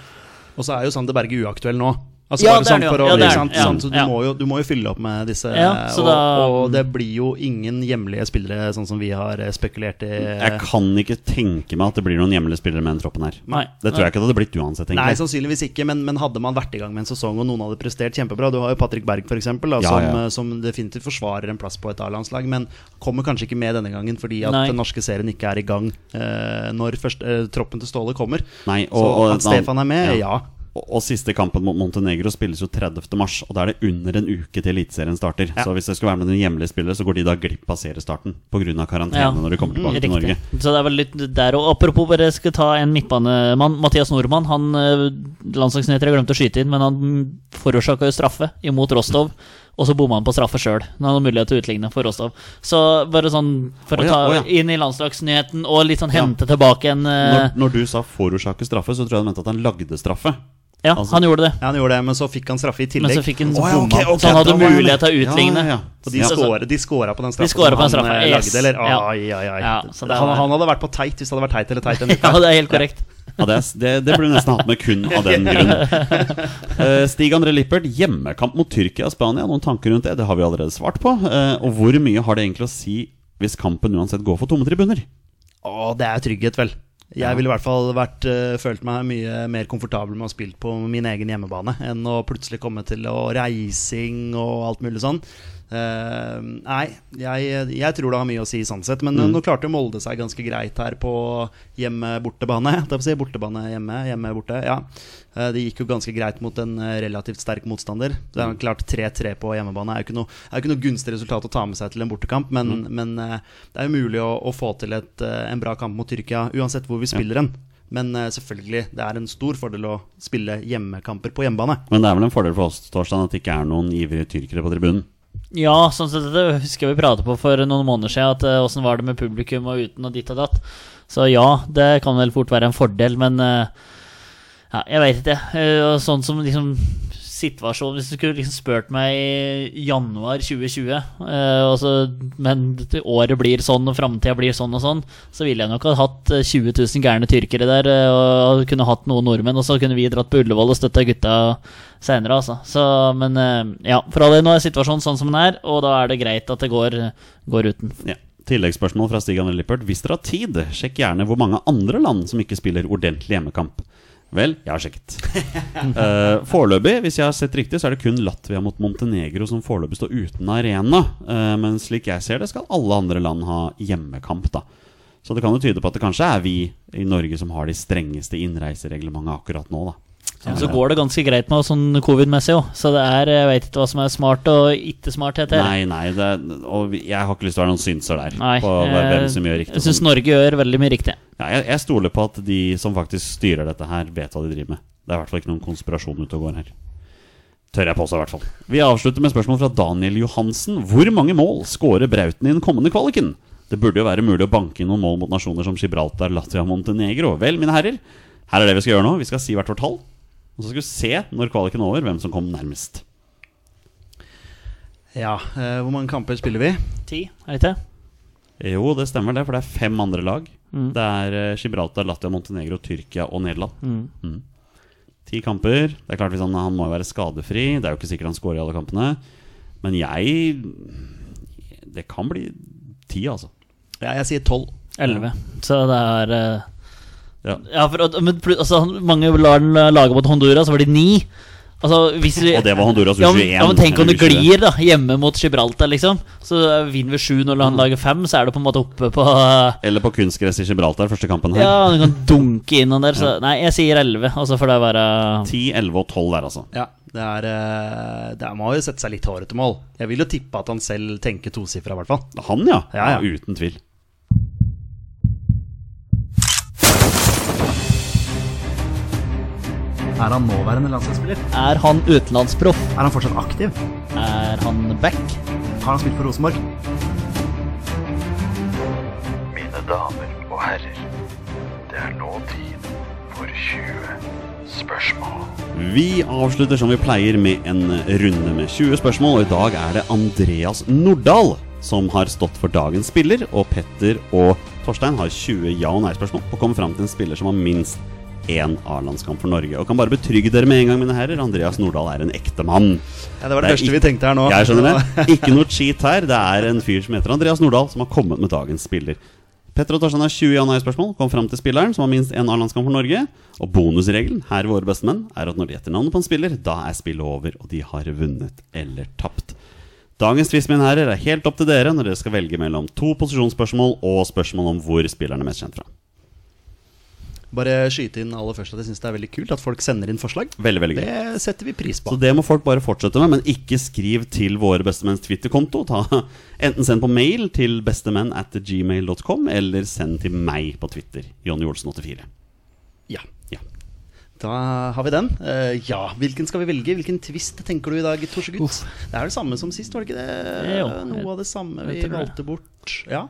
S1: Og så er jo Sander Berge uaktuell nå. Altså,
S3: Ja,
S1: bare
S3: det er
S1: sånn
S3: det jo.
S1: for å-
S3: Ja, det er
S1: ikke
S3: det.
S1: sant?
S3: Ja,
S1: Sånn, så du,
S3: ja.
S1: må jo, du må jo fylle opp med disse.
S3: Ja, så
S1: og,
S3: da-
S1: og det blir jo ingen hjemlige spillere, sånn som vi har eh, spekulert i.
S2: Jeg kan ikke tenke meg at det blir noen hjemlige spillere med den troppen her.
S3: Nei.
S2: Det tror jeg ikke det hadde blitt uansett. egentlig.
S1: Nei, sannsynligvis ikke, men, men hadde man vært i gang med en sesong og noen hadde prestert kjempebra Du har jo Patrick Berg, f.eks., da,
S2: Ja,
S1: som,
S2: ja.
S1: eh, som definitivt forsvarer en plass på et A-landslag, men kommer kanskje ikke med denne gangen fordi at
S3: Nei.
S1: den norske serien ikke er i gang eh, når først, eh, troppen til Ståle kommer.
S2: Nei, og-
S1: så
S2: og-
S1: at Stefan er med, ja.
S2: Og, og siste kampen mot Montenegro spilles jo 30. mars, og da er det under en uke til Eliteserien starter. Så hvis det skal være med noen hjemlige spillere, så går de da glipp av seriestarten pga. karantene
S3: Ja. Mm.
S2: når de kommer
S1: Mm,
S2: tilbake til
S3: Riktig.
S2: Norge.
S3: Så det er vel litt der og Apropos, bare skal ta en midtbanemann. Mathias Nordmann. han eh, Landslagsnyheter, jeg glemte å skyte inn, men han forårsaka jo straffe imot Rostov. Og så bomma han på straffe sjøl, når han hadde mulighet til å utligne for Rostov. Så bare sånn for
S2: Å ja,
S3: å ta
S2: å ja.
S3: inn i landslagsnyheten og litt sånn hente tilbake en eh,
S2: Når, når du sa 'forårsake straffe', så tror jeg du mente at han lagde straffe.
S3: Ja,
S2: altså-
S3: han gjorde det.
S1: Ja, han gjorde det, men så fikk han straffe i
S3: Men
S1: tillegg.
S3: så fikk han
S2: Å ja, ok,
S3: bomma.
S2: ok,
S3: så han
S2: da var
S3: hadde
S2: jeg med.
S3: mulighet til å utligne.
S2: Ja, ja, ja.
S1: Og de,
S2: Ja.
S1: skåra, de skåra på den straffen
S3: skåra på den
S1: som
S3: straffa,
S1: han eh,
S3: yes.
S1: lagde, eller?
S3: Ja.
S1: Ai, ai, ai.
S3: Ja, så det
S1: han,
S3: var-
S1: han hadde vært på teit hvis det hadde vært teit eller teit. Den
S3: Ja, det er helt korrekt.
S2: Ja, det, er- det, det burde du nesten hatt med kun av den grunn. Eh, Stig André Lippert, hjemmekamp mot Tyrkia og Spania. Noen tanker rundt det? Det har vi allerede svart på. Eh, og hvor mye har det egentlig å si hvis kampen uansett går for tomme tribuner?
S1: Å, det er trygghet, vel. Jeg ville i hvert fall vært, eh, følt meg mye mer komfortabel med å ha spilt på min egen hjemmebane enn å plutselig komme til å reising og alt mulig sånn. Eh, nei, jeg, jeg tror det har mye å si sånn sett. Men
S3: Mm.
S1: eh, nå klarte jo Molde seg ganske greit her på hjemme-bortebane. Jeg holdt på å si bortebane hjemme, hjemme-borte. Ja. Eh, det gikk jo ganske greit mot en eh, relativt sterk motstander. Det er klart 3-3 på hjemmebane er jo ikke noe, er jo ikke noe gunstig resultat å ta med seg til en bortekamp, men, men eh, det er jo mulig å, å få til et, eh, en bra kamp mot Tyrkia uansett hvor vi spiller den. Men eh, selvfølgelig, det er en stor fordel å spille hjemmekamper på hjemmebane.
S2: Men det er vel en fordel for oss Torstein, at det ikke er noen ivrige tyrkere på tribunen.
S3: Ja, sånn sett, det husker jeg vi pratet på for noen måneder siden, at eh, åssen var det med publikum og uten og ditt og datt. Så ja, det kan vel fort være en fordel, men eh, ja, jeg veit ikke. Eh, og sånn som liksom situasjonen Hvis du skulle liksom spurt meg i januar 2020, eh, og så- men det- året blir sånn og framtida blir sånn og sånn, så ville jeg nok ha hatt eh, 20 000 gærne tyrkere der, eh, og kunne hatt noen nordmenn, og så kunne vi dratt på Ullevål og støtta gutta seinere, altså. Så, men eh, ja, for all del, nå er situasjonen sånn som den er, og da er det greit at det går, går uten.
S2: Ja. Tilleggsspørsmål fra Stig André Lippert. Hvis dere har tid, sjekk gjerne hvor mange andre land som ikke spiller ordentlig hjemmekamp. Vel, jeg har sjekket. Eh, foreløpig, hvis jeg har sett riktig, så er det kun Latvia mot Montenegro som foreløpig står uten arena. Eh, men slik jeg ser det, skal alle andre land ha hjemmekamp, da. Så det kan jo tyde på at det kanskje er vi i Norge som har de strengeste innreisereglementene akkurat nå, da.
S3: Ja, så går det ganske greit med oss sånn covid-messig òg, så det er Jeg veit ikke hva som er smart og ikke smart, heter det.
S2: Nei, nei, det, og vi- jeg har ikke lyst til å være noen synser der.
S3: Nei,
S2: På hvem som gjør
S3: eh,
S2: riktig. og
S3: Jeg syns
S2: sånn.
S3: Norge gjør veldig mye riktig.
S2: Ja, jeg, jeg stoler på at de som faktisk styrer dette her, vet hva de driver med. Det er i hvert fall ikke noen konspirasjon ute og går her. Tør jeg påstå, i hvert fall. Vi avslutter med spørsmål fra Daniel Johansen. Hvor mange mål skårer Brauten i den kommende kvaliken? Det burde jo være mulig å banke inn noen mål mot nasjoner som Gibraltar, Latvia og Montenegro. Vel, mine herrer, her er det vi skal gjøre nå. Vi skal si hvert vårt tall. Og så skal vi se, når kvaliken er over, hvem som kom nærmest.
S1: Ja, eh, Hvor mange kamper spiller vi?
S3: Ti, er det ikke?
S2: Jo, det stemmer det, for det er fem
S3: Mm. Mm.
S2: andre lag. Det er eh, Gibraltar, Latvia, Montenegro, Tyrkia og Nederland. Ti kamper. Det er klart hvis han, han må jo være skadefri. Det er jo ikke sikkert han scorer i alle kampene. Men jeg Det kan bli ti, altså.
S1: Ja, jeg sier tolv.
S3: 11. Så det er eh,
S2: Ja.
S3: ja, for, at- men, plu- altså, han- mange lar den eh, lage mot Honduras, så var de ni. Altså, hvis vi,
S2: Og det var Honduras
S3: ja, men,
S2: U21,
S3: ja, men tenk om
S2: eller U20.
S3: det glir da hjemme mot Gibraltar, liksom. Så eh, vinner vi sju når
S2: Mm.
S3: han lager fem, så er det på en måte oppe på eh,
S2: Eller på kunstgress i Gibraltar, første kampen her.
S3: Ja, han kan dunke inn han der. Så, nei, jeg sier 11, og så får det være
S2: 10, 11 og 12 der, altså.
S1: Ja, det er eh, Det er, må jo sette seg litt hårete mål. Jeg vil jo tippe at han selv tenker tosifra, i hvert fall.
S2: Han, ja.
S1: Ja, ja.
S2: Uten tvil.
S1: Er han nåværende landslagsspiller?
S3: Er han utenlandsproff?
S1: Er han fortsatt aktiv?
S3: Er han back?
S1: Har han spilt for Rosenborg?
S5: Mine damer og herrer, det er nå tid for 20 spørsmål.
S2: Vi avslutter som vi pleier med en runde med 20 spørsmål, og i dag er det Andreas Nordahl som har stått for dagens spiller, og Petter og Torstein har 20 ja- og nei-spørsmål og kommer fram til en spiller som har minst én A-landskamp for Norge. Og kan bare betrygge dere med en gang, mine herrer, Andreas Nordahl er en ekte mann.
S1: Ja, det var
S2: Det
S1: det,
S2: er
S1: første vi
S2: ikke-
S1: tenkte her nå.
S2: Jeg skjønner det. Ikke noe cheat her. Det er en fyr som heter Andreas Nordahl, som har kommet med dagens spiller. Petter og Torstein har 20 ja- og nei-spørsmål. Kom fram til spilleren, som har minst én A-landskamp for Norge. Og bonusregelen her i Våre bestemenn er at når de gjetter navnet på en spiller, da er spillet over, og de har vunnet eller tapt. Dagens twist, mine herrer, er helt opp til dere når dere skal velge mellom to posisjonsspørsmål og spørsmål om hvor spilleren er mest kjent fra.
S1: Bare skyte inn aller først at jeg syns det er veldig kult at folk sender inn forslag.
S2: Veldig, veldig gøy.
S1: Det setter vi pris på.
S2: Så det må folk bare fortsette med, men ikke skriv til våre bestemenns Twitter-konto. Ta- Enten send på mail til bestemenn at gmail.com, eller send til meg på Twitter. Jonny Olsen84.
S1: Ja,
S2: Ja.
S1: Da har vi den. Eh, ja, Hvilken skal vi velge? Hvilken twist tenker du i dag, Torsegutt? Det er det samme som sist, var det ikke det?
S3: Det er Eh, jo-
S1: Noe av det samme vi
S3: Jeg tror det.
S1: valgte bort. Ja,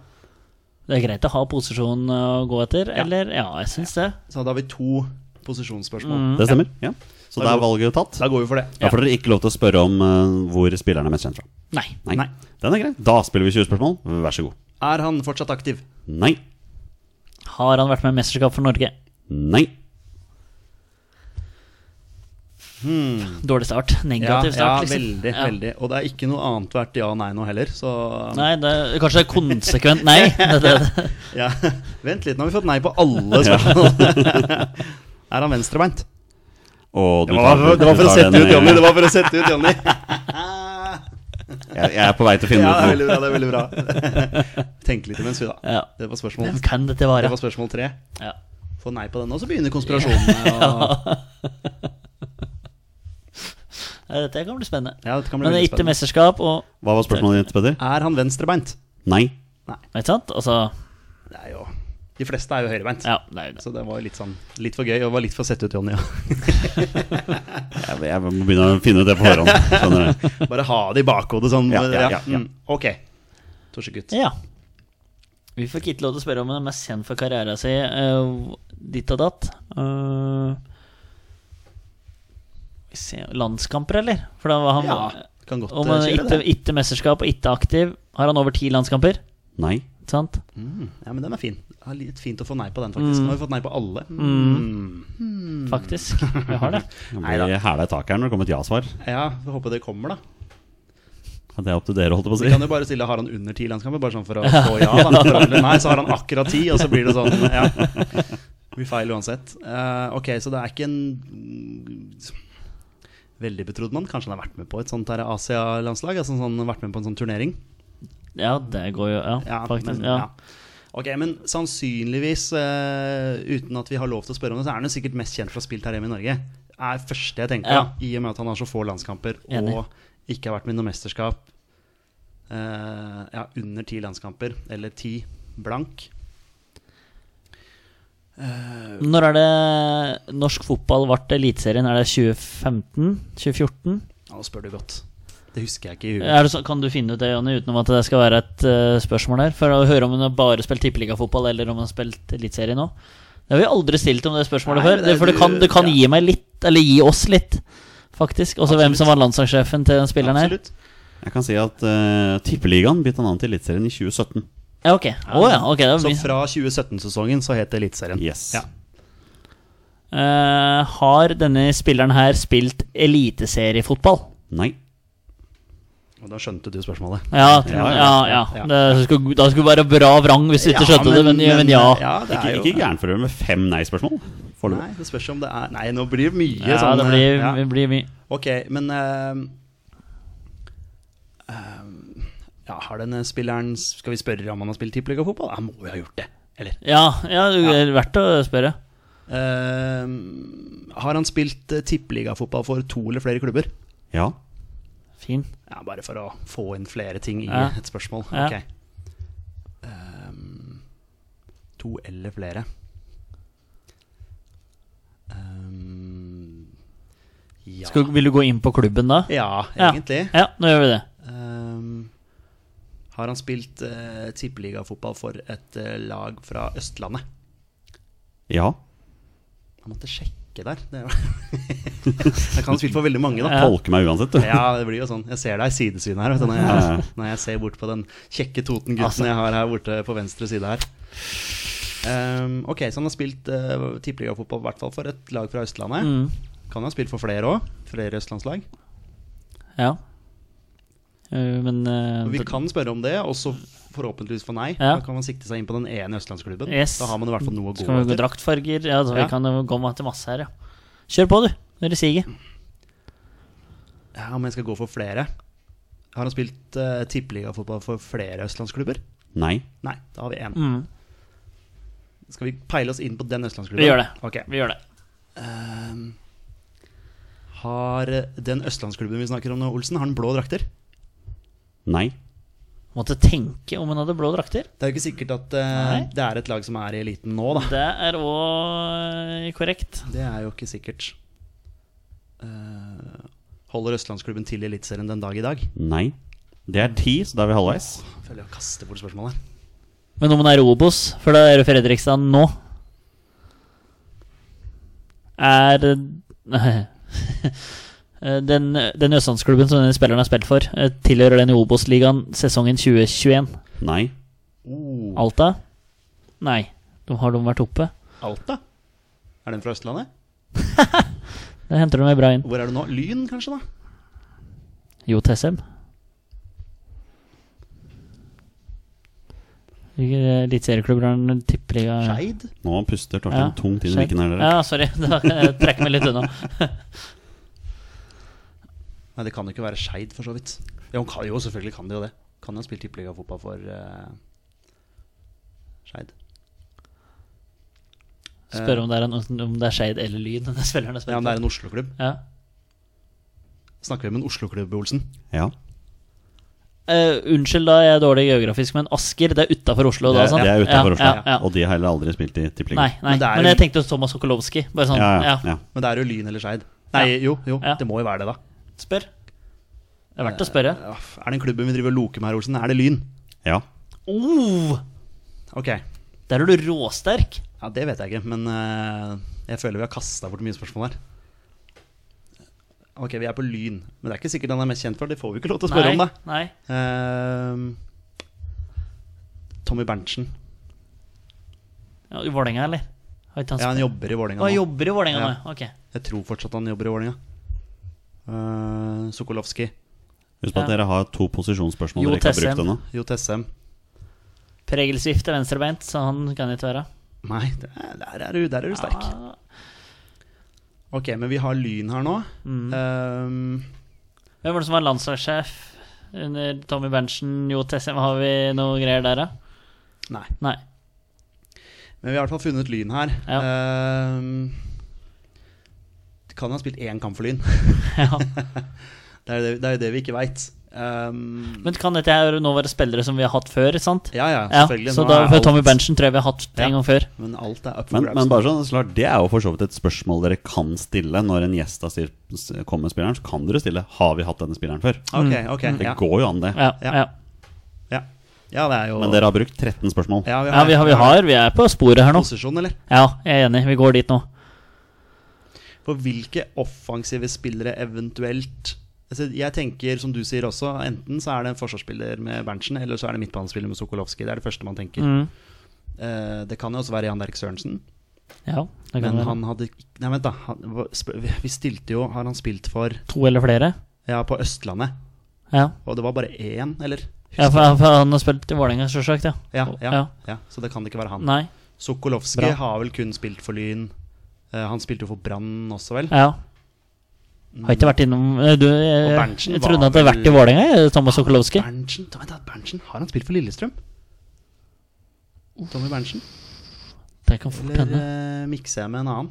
S3: Det er greit å ha posisjon å gå etter,
S1: Ja.
S3: eller? Ja, jeg syns det.
S1: Så da har vi to posisjonsspørsmål.
S3: Mm.
S2: Det stemmer. Ja. Så da er valget tatt.
S1: Da går vi for det.
S2: Da får dere ikke lov til å spørre om eh, hvor spilleren er mest kjent fra.
S3: Nei.
S2: Nei.
S1: Nei.
S2: Den er grei. Da spiller vi 20 spørsmål. Vær så god.
S1: Er han fortsatt aktiv?
S2: Nei.
S3: Har han vært med i mesterskap for Norge?
S2: Nei.
S3: Dårlig start. Negativ
S1: ja,
S3: start. liksom.
S1: veldig.
S3: Ja.
S1: veldig Og det er ikke noe annet hvert ja og nei nå heller, så
S3: Nei, det er, kanskje det er konsekvent nei. Det, det,
S1: ja. Vent litt, nå har vi fått nei på alle spørsmålene. er han venstrebeint?
S2: Og du
S1: Det var,
S2: tar-
S1: det var
S2: du
S1: for å
S2: tar
S1: sette
S2: den,
S1: ut
S2: eh,
S1: Jonny! Det var for å sette ut Jonny.
S2: Jeg, jeg er på vei til å finne
S1: Ja, det er
S2: ut noe.
S1: veldig bra. det er veldig bra Tenk litt imens, vi, da.
S3: Ja.
S1: Det var spørsmål
S3: Hvem kan dette
S1: Det
S3: være?
S1: var spørsmål tre.
S3: Ja.
S1: Få nei på den, og så begynner konspirasjonene. Og...
S3: Ja, Dette kan bli spennende.
S1: Ja, dette kan bli
S3: Men det er
S1: veldig
S3: ikke
S1: spennende.
S3: mesterskap og
S2: Hva var spørsmålet ditt, Peder?
S1: Er han venstrebeint?
S2: Nei.
S3: Ikke sant? Altså,
S1: Det er jo De fleste er jo høyrebeint.
S3: ja, det er jo det.
S1: Så det var litt sånn Litt for gøy, og var litt for å sette ut Jonny. ja.
S2: Jeg, jeg må begynne å finne ut det på forhånd. Skjønner du?
S1: Bare ha det i bakhodet sånn.
S2: Ja, ja, ja, ja.
S1: Mm, ok. Torsegutt.
S3: Ja. Vi fikk ikke lov til å spørre om han er mest kjent for karriera si, eh, ditt og datt. Eh, vi ser- landskamper, eller? For da var han
S1: Ja, kan godt
S3: Om
S1: eh,
S3: han er
S1: skille
S3: ikke,
S1: det.
S3: ikke mesterskap og ikke aktiv, har han over ti landskamper?
S2: Nei.
S3: Ikke sant?
S1: Mm. Ja, men den er fin. Det er litt fint å få nei på den,
S2: Mm.
S1: faktisk. Nå har vi fått nei på alle. Mm.
S3: Faktisk. Vi har det.
S2: Nå blir det hæla i taket her når det kommer et ja-svar.
S1: Ja, Får håpe det kommer, da.
S2: Ja, Det er opp til dere, holdt jeg på å
S1: Vi kan
S2: si.
S1: jo bare stille har han under ti landskamper, bare sånn for å få ja. Da. For alle nei, så har han akkurat ti, og så blir det sånn. Ja. Vi feil uansett. Eh, ok, så det er ikke en mm, veldig betrodd mann. Kanskje han har vært med på et sånt her Asia-landslag? Altså sånn, vært med på en sånn turnering?
S3: Ja, det går jo Ja,
S1: Ja,
S3: faktisk.
S1: men,
S3: ja.
S1: ja. Ok, men sannsynligvis, eh, uten at vi har lov til å spørre om det, så er han jo sikkert mest kjent for å ha spilt her hjemme i Norge. Er første jeg tenker,
S3: Ja.
S1: da, i og med at han har så få landskamper
S3: Enig.
S1: og ikke har vært med i noe mesterskap. eh, ja, under ti landskamper, eller ti blank.
S3: Når er det norsk fotball ble Eliteserien? Er det 2015? 2014?
S1: Ja, nå spør du godt. Det husker jeg ikke i huet.
S3: Er det så, kan du finne ut det, Jonny, utenom at det skal være et eh, spørsmål her? For å høre om hun har bare spilt tippeligafotball, eller om hun har spilt eliteserie nå. Det har vi aldri stilt om det spørsmålet
S1: Nei,
S3: før.
S1: men det-
S3: for det kan, det kan
S1: ja.
S3: gi meg litt, eller gi oss litt, faktisk. Også hvem
S1: Absolutt.
S3: som var landslagssjefen til den spilleren her.
S1: Absolutt.
S2: Jeg kan si at eh, Tippeligaen bytta navn til Eliteserien i 2017.
S3: Ja, ok. Å ja, ok. Det var
S1: Så
S3: mye.
S1: fra 2017-sesongen så het Eliteserien.
S2: Yes.
S1: Ja.
S3: Eh, Eh, har denne spilleren her spilt eliteseriefotball?
S2: Nei.
S1: Og da skjønte du spørsmålet.
S3: Ja,
S1: Ja,
S3: ja.
S1: ja,
S3: ja,
S1: ja.
S3: Det skulle, da skulle være bra vrang hvis du ikke skjønte det, men, men ja.
S1: ja det
S2: Ikke,
S1: er jo,
S2: ikke gærenfører med fem nei-spørsmål.
S1: Nei,
S2: Foreløpig.
S1: det spørs om det er Nei, nå blir det mye
S3: Ja,
S1: sånn
S3: det
S1: eh,
S3: blir,
S1: ja.
S3: det blir mye.
S1: Ok, men eh, eh, ja, Har denne spilleren Skal vi spørre om han har spilt tippeligafotball? Han må jo ha gjort det, eller?
S3: Ja, ja, det er verdt å spørre.
S1: Eh, har han spilt uh, tippeligafotball for to eller flere klubber?
S2: Ja.
S3: Fin.
S1: Ja, bare for å få inn flere ting i
S3: Ja.
S1: et spørsmål.
S3: Ja.
S1: Ok. Ehm, to eller flere. Ehm, ja.
S3: Skal, vil du gå inn på klubben da?
S1: ja,
S3: Ja.
S1: egentlig.
S3: Ja, nå gjør vi det.
S1: Ehm, har han spilt uh, tippeligafotball for et eh, lag fra Østlandet?
S2: Ja.
S1: Han måtte sjekke der. Det var jeg kan ha spilt for veldig mange, da.
S2: Tolke meg uansett, du.
S1: Ja, det blir jo sånn. Jeg ser deg i sidesynet her vet du, når,
S2: Ja, ja.
S1: jeg, når jeg ser bort på den kjekke Toten-gutten jeg har her borte på venstre side her. Ehm, ok, så han har spilt uh, tippeligafotball i hvert fall for et lag fra Østlandet.
S3: Mm.
S1: Kan jo ha spilt for flere òg, flere østlandslag.
S3: Ja. Eh, Men eh,
S1: Og Vi
S3: d-
S1: kan spørre om det, også forhåpentligvis for nei.
S3: Ja.
S1: Da kan man sikte seg inn på den ene østlandsklubben.
S3: Yes.
S1: Da har man i hvert fall noe å
S3: skal
S1: gå
S3: vi gå
S1: etter.
S3: draktfarger? Ja, så vi
S1: Ja.
S3: kan jo komme til masse her, ja. Kjør på, du. Når det siger.
S1: Ja, om jeg skal gå for flere Har han spilt uh, tippeligafotball for flere østlandsklubber?
S2: Nei.
S1: Nei, da har vi én.
S3: Mm.
S1: Skal vi peile oss inn på den østlandsklubben?
S3: Vi gjør det.
S1: Ok.
S3: Vi gjør det.
S1: Ehm, Har eh, den østlandsklubben vi snakker om nå, Olsen, har den blå drakter?
S2: Nei.
S3: Måtte tenke om hun hadde blå drakter.
S1: Det er jo ikke sikkert at eh,
S3: Nei.
S1: det er et lag som er i eliten nå, da.
S3: Det er òg korrekt.
S1: Det er jo ikke sikkert. Eh, holder østlandsklubben til i Eliteserien den dag i dag?
S2: Nei. Det er ti, så da er vi halvveis.
S1: Jeg Føler jeg kaster bort spørsmålet.
S3: Men om hun er Obos, for da er det Fredrikstad nå Er eh, Den, den østlandsklubben som denne spilleren har spilt for, eh, tilhører den i Obos-ligaen sesongen 2021.
S2: Nei.
S1: Oh,
S3: Alta? Nei. De har de vært oppe?
S1: Alta? Er den fra Østlandet?
S3: Det henter de meg bra inn.
S1: Hvor er du nå? Lyn, kanskje? da?
S3: Jo Tessem. Eliteserieklubber har en tippeliga
S1: Skeid?
S2: Nå puster Torstein tungt inn i
S3: skjønt.
S2: mikken her, dere.
S3: Ja, sorry. Da eh, trekker meg litt unna.
S1: Nei, det kan jo ikke være Skeid, for så vidt. Jo, kan, jo selvfølgelig kan det jo det. Kan jo ha spilt tippeligafotball for uh, Skeid.
S3: Spør om det er, en, om det er Skeid eller Lyn. Den spilleren er
S1: Ja,
S3: spilleren.
S1: men det er en Oslo-klubb.
S3: Ja.
S1: Snakker vi om en Oslo-klubb, Olsen?
S2: Ja.
S3: Eh, unnskyld, da, jeg er dårlig geografisk, men Asker det er utafor Oslo.
S2: Det
S3: Da,
S2: er,
S3: sant?
S2: det er utenfor Oslo.
S3: Ja, ja, ja.
S2: Og de har heller aldri spilt i
S3: Nei,
S2: tippeligaen.
S3: nei.
S1: Men
S3: Men,
S1: det er jo-
S3: jeg tenkte Thomas Sokolowski. Bare sånn,
S2: Ja,
S3: ja,
S2: ja, ja.
S1: Men det er jo Lyn eller Skeid. Nei,
S3: Ja.
S1: jo, jo,
S3: Ja.
S1: det må jo være det, da.
S3: Spør. Det er verdt å spørre.
S1: Ja, Er den klubben vi driver og loker med her, Olsen, er det Lyn?
S2: ja.
S3: Oh,
S1: Ok. Ja,
S3: der er du råsterk.
S1: det vet jeg ikke, men eh, jeg føler vi har kasta bort mye spørsmål her. Ok, vi er på Lyn, men det er ikke sikkert han er mest kjent for. Det får vi ikke lov til å spørre om, da.
S3: nei.
S1: Eh, Tommy Berntsen.
S3: Ja, I Vålerenga, eller? Har ikke han
S1: Ja, han
S3: spilt-
S1: jobber i
S3: Å,
S1: Vålerenga
S3: han
S1: nå.
S3: jobber i Vålerenga
S1: Ja.
S3: nå? Ok.
S1: Jeg tror fortsatt han jobber i Vålerenga. Uh, Sokolowski.
S2: Husk på at
S3: Ja.
S2: dere har to posisjonsspørsmål
S3: Jo
S2: dere ikke har
S3: Tessem.
S2: brukt ennå.
S1: Jo Tessem.
S3: Pregelsvift er venstrebeint, så han kan ikke være. Ah.
S1: Nei, det er- der er du, der er du sterk.
S3: Ja.
S1: Ok, men vi har Lyn her nå.
S3: Mm.
S1: Eh,
S3: Hvem var det som var landslagssjef under Tommy Berntsen, Jo Tessem? Har vi noe greier der, da?
S1: nei.
S3: Nei.
S1: Men vi har i hvert fall funnet Lyn her.
S3: Ja.
S1: Ehm, kan ha spilt én kamp for Lyn.
S3: Ja.
S1: Det er jo det, det, er jo det vi ikke veit. Ehm,
S3: Men kan dette her nå være spillere som vi har hatt før, sant?
S1: ja, ja,
S3: Ja,
S1: selvfølgelig.
S3: så
S1: Nå
S3: da
S1: er
S3: for
S1: alt-
S3: Tommy Berntsen tror jeg vi har hatt
S1: Ja.
S3: en gang før.
S1: Men alt er up for
S2: Men,
S1: grabs.
S2: men bare sånn, så klart, det er jo for så vidt et spørsmål dere kan stille når en gjest har sier- s- kommer med spilleren. Så kan dere stille 'Har vi hatt denne spilleren før?'
S1: Ok, ok,
S3: Mm.
S2: Det
S1: ja,
S2: går jo an, det.
S3: Ja,
S1: Ja.
S3: ja.
S1: ja. ja, det er jo
S2: Men dere har brukt 13 spørsmål.
S1: ja,
S3: ja vi, har, vi har Vi er på sporet her nå.
S1: posisjon, eller?
S3: Ja, jeg er enig. Vi går dit nå.
S1: For hvilke offensive spillere eventuelt altså, Jeg tenker, som du sier også, enten så er det en forsvarsspiller med Berntsen, eller så er det midtbanespiller med Sokolowski. Det er det første man tenker.
S3: Mm.
S1: Eh, det kan jo også være Jan Derek Sørensen.
S3: Ja, det kan
S1: Men
S3: være.
S1: han hadde ikk- Nei, vent, da. Han, hva- sp- vi stilte jo Har han spilt for
S3: To eller flere.
S1: Ja, på Østlandet.
S3: Ja,
S1: Og det var bare én, eller?
S3: ja for, for han har spilt i Vålerenga, selvsagt. Ja.
S1: Ja, ja,
S3: Ja.
S1: ja. Så det kan ikke være han.
S3: Nei.
S1: Sokolovskij
S3: Bra.
S1: har vel kun spilt for Lyn. Eh, han spilte jo for Brann også, vel?
S3: Ja. Har ikke vært innom eh, Du, jeg,
S1: Og Berntsen
S3: jeg
S1: var
S3: trodde han hadde vært i
S1: vel-
S3: Vålerenga, jeg, Thomas Sokolowski.
S1: Berntsen, da, vent da, Berntsen, har han spilt for Lillestrøm? Tommy Berntsen?
S3: Det kan fort
S1: Eller
S3: hende.
S1: eh, mikser jeg med en annen?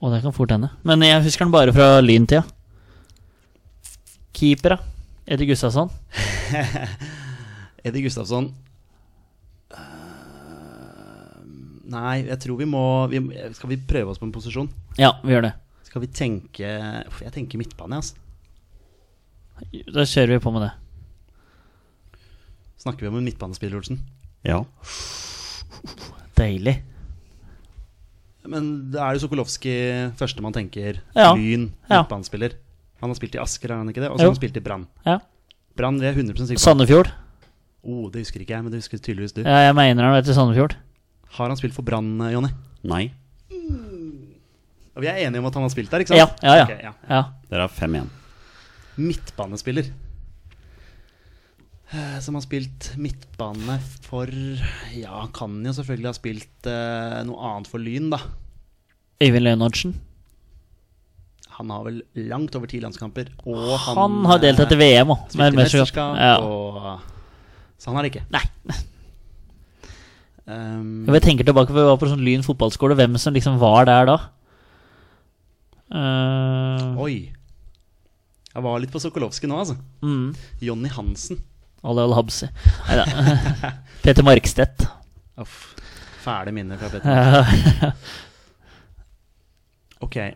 S3: Og det kan fort hende. Men jeg husker han bare fra lyntida. Keeper, da. Eddie Gustavsson.
S1: Eddie Gustavsson Eh, Nei, jeg tror vi må vi, Skal vi prøve oss på en posisjon?
S3: Ja, vi gjør det.
S1: Skal vi tenke Uff, Jeg tenker midtbane, jeg, altså.
S3: Da kjører vi på med det.
S1: Snakker vi om en midtbanespiller, Olsen?
S2: Ja.
S3: Deilig.
S1: Men det er jo Sokolowski første man tenker.
S3: Ja.
S1: Lyn,
S3: Ja.
S1: midtbanespiller. Han har spilt i Asker, har han ikke det? Og
S3: Jo.
S1: så har han spilt i Brann.
S3: Ja.
S1: Brann det er jeg 100 sikker på.
S3: Sandefjord.
S1: Oh, det husker ikke jeg, men det husker tydeligvis du.
S3: Ja, jeg mener han heter Sandefjord.
S1: Har han spilt for Brann, eh, Jonny?
S2: Nei.
S1: Og vi er enige om at han har spilt der, ikke
S3: Ja,
S1: sant?
S3: ja, ja.
S1: Ok, ja.
S3: ja.
S2: Dere er fem igjen.
S1: Midtbanespiller. Eh, Som har spilt midtbane for Ja, han kan jo selvfølgelig ha spilt eh, noe annet for Lyn, da.
S3: Øyvind Leonardsen.
S1: Han har vel langt over ti landskamper, og han,
S3: Han har deltatt i
S1: eh,
S3: VM òg.
S1: spilte mesterskap, og Så han har det ikke.
S3: Nei.
S1: Um,
S3: Jeg bare tenker tilbake på vi var på sånn Lyn fotballskole, hvem som liksom var der da. Uh,
S1: oi. Jeg var litt på Sokolowski nå, altså.
S3: mm,
S1: Jonny Hansen.
S3: Ali Al-Habsi. Nei da. Peter Markstedt.
S1: Uff. Fæle minner fra Petter.
S3: Eh,
S1: Ok. eh,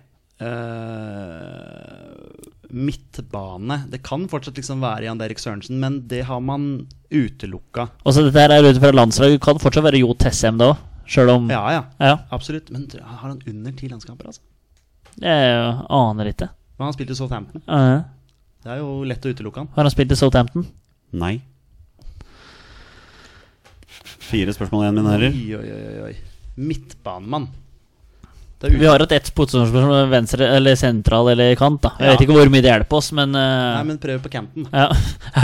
S1: midtbane. Det kan fortsatt liksom være Jan Derek Sørensen, men det har man utelukka.
S3: Også dette her er ute fra landslaget. Kan fortsatt være Jo Tessem da, sjøl om
S1: Ja, ja.
S3: Ja.
S1: Absolutt. Men tror jeg- har han under ti landskamper, altså?
S3: Jeg aner ikke.
S1: Men han spilte jo Southampton.
S3: Eh,
S1: Det er jo lett å utelukke han.
S3: har han spilt i Southampton?
S2: Nei. Fire spørsmål igjen, mine herrer.
S1: Oi, oi, oi, oi, oi. Midtbanemann. Det er
S3: Vi
S1: ute.
S3: har hatt ett motstandsspørsmål, venstre eller sentral eller kant. da Jeg
S1: Ja.
S3: vet ikke hvor mye det hjelper oss, men, eh,
S1: Nei, men prøv på campen.
S3: ja.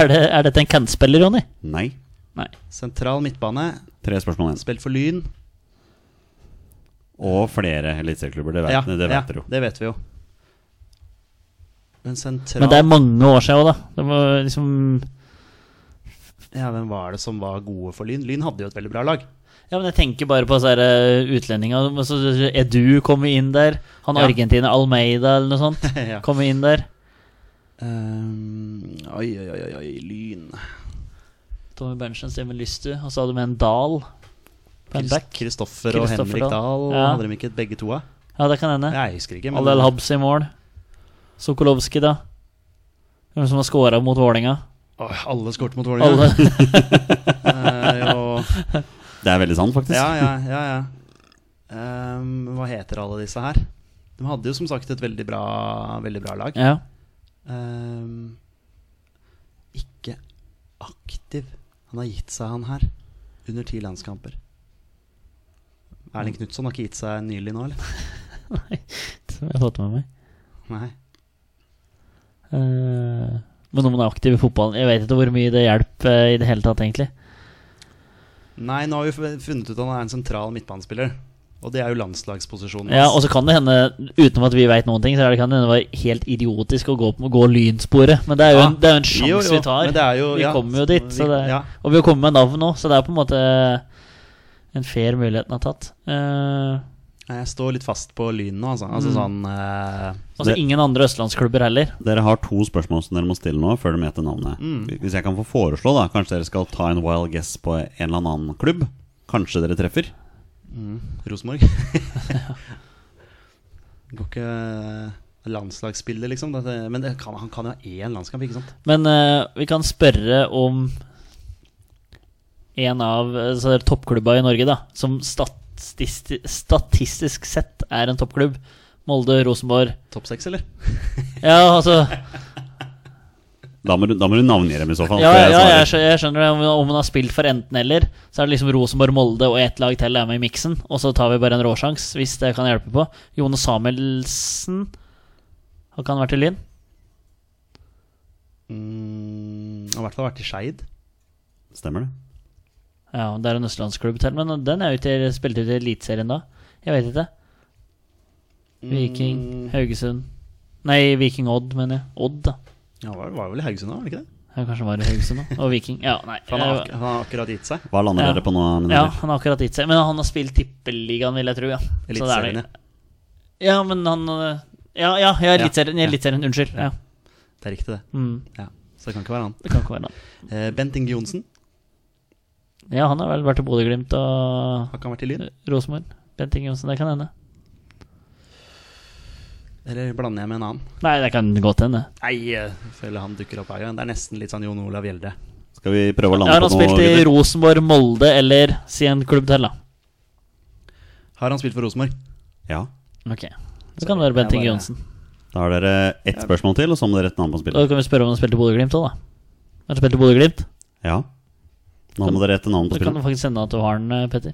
S3: er, det, er dette en kantspiller, Ronny?
S2: Nei.
S3: Nei.
S1: Sentral midtbane.
S2: Tre spørsmål igjen.
S1: Spilt for Lyn.
S2: Og flere eliteserieklubber. Det vet,
S1: Ja,
S2: det vet
S1: ja,
S2: dere jo.
S1: det vet vi jo. Men sentral
S3: Men det er mange år siden òg, da. Det var liksom
S1: Ja, hvem var det som var gode for Lyn? Lyn hadde jo et veldig bra lag.
S3: Ja, men jeg tenker bare på sånne eh, utlendinger. Altså, Edu kommer inn der. Han
S1: Ja.
S3: argentiner Almeida eller noe sånt
S1: Ja.
S3: kommer inn der.
S1: Ehm, oi, oi, oi, oi, oi, lyn.
S3: Tommy Berntsen, Steven Lystu. Og så hadde vi en Dahl på en back.
S1: Kristoffer og
S3: Kristoffer
S1: Henrik Dahl,
S3: Dahl, ja.
S1: hadde de ikke begge to? av?
S3: Ja, det kan hende.
S1: Jeg husker ikke. men-
S3: Alel Habs i mål. Sokolowski, da. Hvem som har scora mot Vålerenga?
S1: Åh, alle skåret mot
S3: Alle.
S1: Vålerenga. Eh, og-
S2: Det er veldig sant, faktisk.
S1: ja, ja, ja. ja. Ehm, hva heter alle disse her? De hadde jo som sagt et veldig bra, veldig bra lag.
S3: Ja.
S1: Ehm, ikke aktiv. Han har gitt seg, han her. Under ti landskamper. Erling Knutson har ikke gitt seg nylig nå, eller?
S3: Som jeg har fått med meg.
S1: Nei.
S3: Eh, men om han er aktiv i fotballen Jeg vet ikke hvor mye det hjelper eh, i det hele tatt, egentlig.
S1: Nei, nå har vi f- funnet ut at han er en sentral midtbanespiller. Og det er jo landslagsposisjonen
S3: Ja, Og
S1: hans.
S3: så kan det hende, utenom at vi veit noen ting, så er det kan det hende det var helt idiotisk å gå, på- gå lynsporet. Men det er jo
S1: Ja.
S3: en, det er jo en sjanse
S1: Jo, jo,
S3: vi tar.
S1: men det er jo-
S3: vi
S1: ja,
S3: kommer jo dit. Så
S1: vi-
S3: det,
S1: ja.
S3: Og vi har kommet med navn nå, så det er på en måte en fair mulighet han har tatt. Eh,
S1: Nei, Jeg står litt fast på Lyn nå, altså.
S3: Mm.
S1: altså sånn, eh,
S3: altså
S2: Det-
S3: ingen andre østlandsklubber heller.
S2: Dere har to spørsmål som dere må stille nå før dere gjetter navnet.
S1: Mm.
S2: Hvis jeg kan få foreslå, da. Kanskje dere skal ta en wild guess på en eller annen klubb? Kanskje dere treffer?
S1: Rosenborg. Går ikke landslagsspiller, liksom. Dette- Men det kan, han kan jo ha én landskamp, ikke sant?
S3: Men eh, vi kan spørre om en av eh, så det er toppklubba i Norge, da, som statistisk, statistisk sett er en toppklubb. Molde, Rosenborg
S1: Topp seks, eller?
S3: Ja, altså
S2: Da må du, da må du navngi dem i så fall.
S3: Ja,
S2: før jeg
S3: ja jeg,
S2: svarer.
S3: skjø- jeg skjønner det. Om- Om man har spilt for enten-eller, så er det liksom Rosenborg, Molde og ett lag til er med i miksen. Og så tar vi bare en råsjans, hvis det kan hjelpe på. Jone Samuelsen Har ikke han vært i Lyn?
S1: Mm, har i hvert fall vært i Skeid.
S2: Stemmer det?
S3: Ja, det er en østlandsklubb til, men den er jo til, spilt ut i Eliteserien da. Jeg vet ikke. Viking,
S1: Mm.
S3: Haugesund Nei, Viking Odd, mener jeg. Odd, da.
S1: Ja, var, var vel i Haugesund da, var det ikke det?
S3: Jeg kanskje var i Haugesund da. Og Viking. Ja, nei.
S1: For han har,
S3: jeg-
S1: ak han har akkurat gitt seg.
S2: Hva lander
S3: Ja.
S2: dere på nå? mine
S3: Ja,
S2: herrer?
S3: han har akkurat gitt seg. Men han har spilt Tippeligaen, vil jeg tro. Ja. Så det er
S1: Eliteserien,
S3: det.
S1: ja.
S3: Ja, men han øh, Ja, ja, ja Eliteserien.
S1: Ja.
S3: Ja, Eliteserien, unnskyld. Ja.
S1: Det er riktig, det.
S3: Mm,
S1: Ja. Så det kan ikke være han.
S3: det kan ikke være han.
S1: Eh, Bent Inge Johnsen,
S3: Ja, han har vel vært i Bodø-Glimt og
S1: har ikke han vært i Lyn?
S3: Rosenborg. Bent Inge Johnsen, det kan hende.
S1: Eller blander jeg med en annen?
S3: Nei, det kan godt hende.
S1: Nei, jeg føler han dukker opp her igjen. Det er nesten litt sånn Jon Olav Gjelde.
S2: Skal vi prøve å
S3: Ja,
S2: lande
S3: han har
S2: på noe?
S3: spilt i
S2: gutter?
S3: Rosenborg, Molde eller si en klubb til, da.
S1: Har han spilt for Rosenborg?
S2: Ja.
S3: Ok. Så kan det være Bent
S1: Jeg
S3: Inge
S1: bare-
S3: Johnsen.
S2: Da har dere ett spørsmål til, og så må dere rette navn på
S3: Da
S2: spillet.
S3: kan vi spørre om han har spilt i Bodø-Glimt òg, da. Har du spilt i Bodø-Glimt?
S2: Ja. Nå må dere rette navn
S3: Da
S2: på
S3: kan du
S2: spillet.
S3: faktisk sende at du har den, eh, Petter.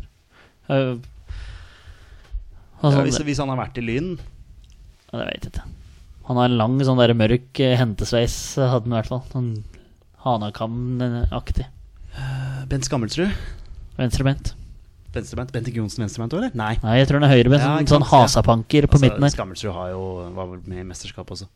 S3: Eh, altså,
S1: Ja, hvis, hvis han har vært i Lyn
S3: Ja, det vet jeg ikke. Han har en lang sånn der mørk eh, hentesveis, eh, hadde han i hvert fall. Sånn Hanakam-aktig.
S1: Eh, Bent Skammelsrud?
S3: Venstrebent.
S1: Venstrebeint? Bent Inge Johnsen venstrebeint òg, eller? Nei.
S3: Nei, jeg tror han er høyrebent.
S1: Ja,
S3: Sånn,
S1: ikke
S3: sånn
S1: sant,
S3: hasapanker på
S1: Altså,
S3: midten her.
S1: Skammelsrud har jo, var vel med i mesterskapet også.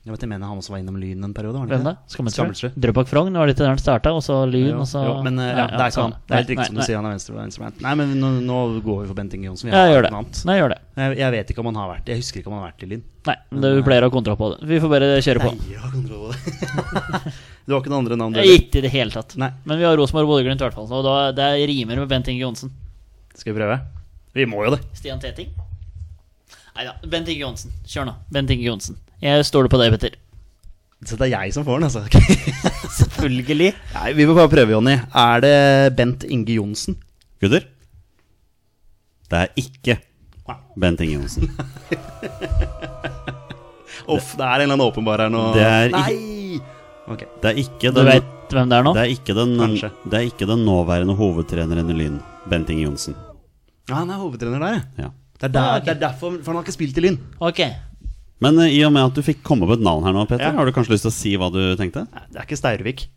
S1: Jeg vet jeg mener han også var innom Lyn en periode. var han ikke
S3: Hvem da? Skammelsrud?
S1: Skammelsrud.
S3: Drøbak Frogn var litt der han starta, og så Lyn,
S1: Jo,
S3: og så
S1: jo, men eh,
S3: Ja, ja,
S1: det er ikke
S3: så-
S1: han. Det er helt
S3: nei,
S1: riktig som du
S3: nei,
S1: sier, han er venstre venstrebeint. Nei, men nå, nå går vi for Bent Inge Johnsen. Vi
S3: Ja,
S1: har
S3: gjør
S1: noe annet.
S3: det. Nei, gjør det.
S1: Jeg, jeg vet ikke om han har vært Jeg husker ikke om han har vært i Lyn.
S3: Nei, men det- vi pleier å ha kontroll på det. Vi får bare kjøre på.
S1: jeg har kontroll på det. du har ikke noen andre navn? du, eller?
S3: Ikke i det hele tatt.
S1: Nei.
S3: Men vi har Rosenborg og Bodø-Glimt, i hvert fall. Og da, det rimer med Bent Inge Johnsen.
S1: Skal vi prøve? Vi må jo det.
S3: Stian Teting? Nei da. Bent Inge Johnsen. Kjør nå. Bent Inge Johnsen. Jeg stoler på deg, Petter.
S1: Så det er jeg som får den, altså. Ok.
S3: Selvfølgelig.
S1: Nei, vi må bare prøve, Jonny. Er det Bent Inge Johnsen?
S2: Gutter? Det er ikke Bent Inge Johnsen.
S1: Uff, det er en eller annen åpenbar her nå.
S2: Det er
S1: Nei! Ok.
S2: Det er ikke
S3: Du
S2: den,
S3: veit hvem det er nå?
S2: det er ikke den,
S1: Kanskje.
S2: det er ikke den nåværende hovedtreneren i Lyn, Bent Inge Johnsen.
S1: Ja, han er hovedtrener der, ja.
S2: Ja.
S1: Det er, der,
S3: Ja, ok.
S1: det er derfor For han har ikke spilt i Lyn.
S3: Ok.
S2: Men eh, i og med at du fikk komme på et navn her nå, Petter,
S1: Ja.
S2: har du kanskje lyst til å si hva du tenkte?
S1: Nei, Det er ikke Staurvik.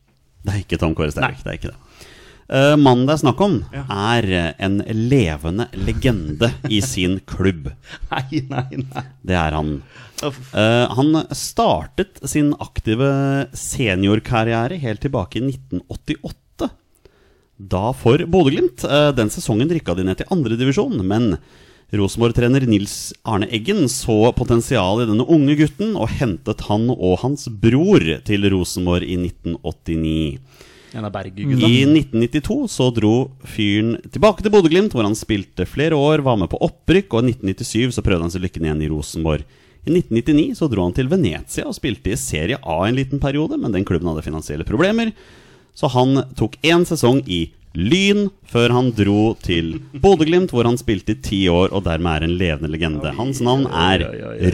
S2: Det er ikke Tom Kåre Stervik. Det er ikke det. Eh, mannen det er snakk om, er eh, en levende legende i sin klubb.
S1: Nei, nei, nei.
S2: Det er han.
S1: Uff.
S2: Eh, han startet sin aktive seniorkarriere helt tilbake i 1988. Da for Bodø-Glimt. Eh, Den sesongen rykka de ned til andredivisjon, men Rosenborg-trener Nils Arne Eggen så potensial i denne unge gutten og hentet han og hans bror til Rosenborg i 1989.
S1: En av Berge-gutta.
S2: I 1992 så dro fyren tilbake til Bodø-Glimt, hvor han spilte flere år, var med på opprykk, og i 1997 så prøvde han seg lykken igjen i Rosenborg. I 1999 så dro han til Venezia og spilte i Serie A en liten periode, men den klubben hadde finansielle problemer, så han tok én sesong i Lyn før han dro til Bodø-Glimt, hvor han spilte i ti år og dermed er en levende legende. Hans navn er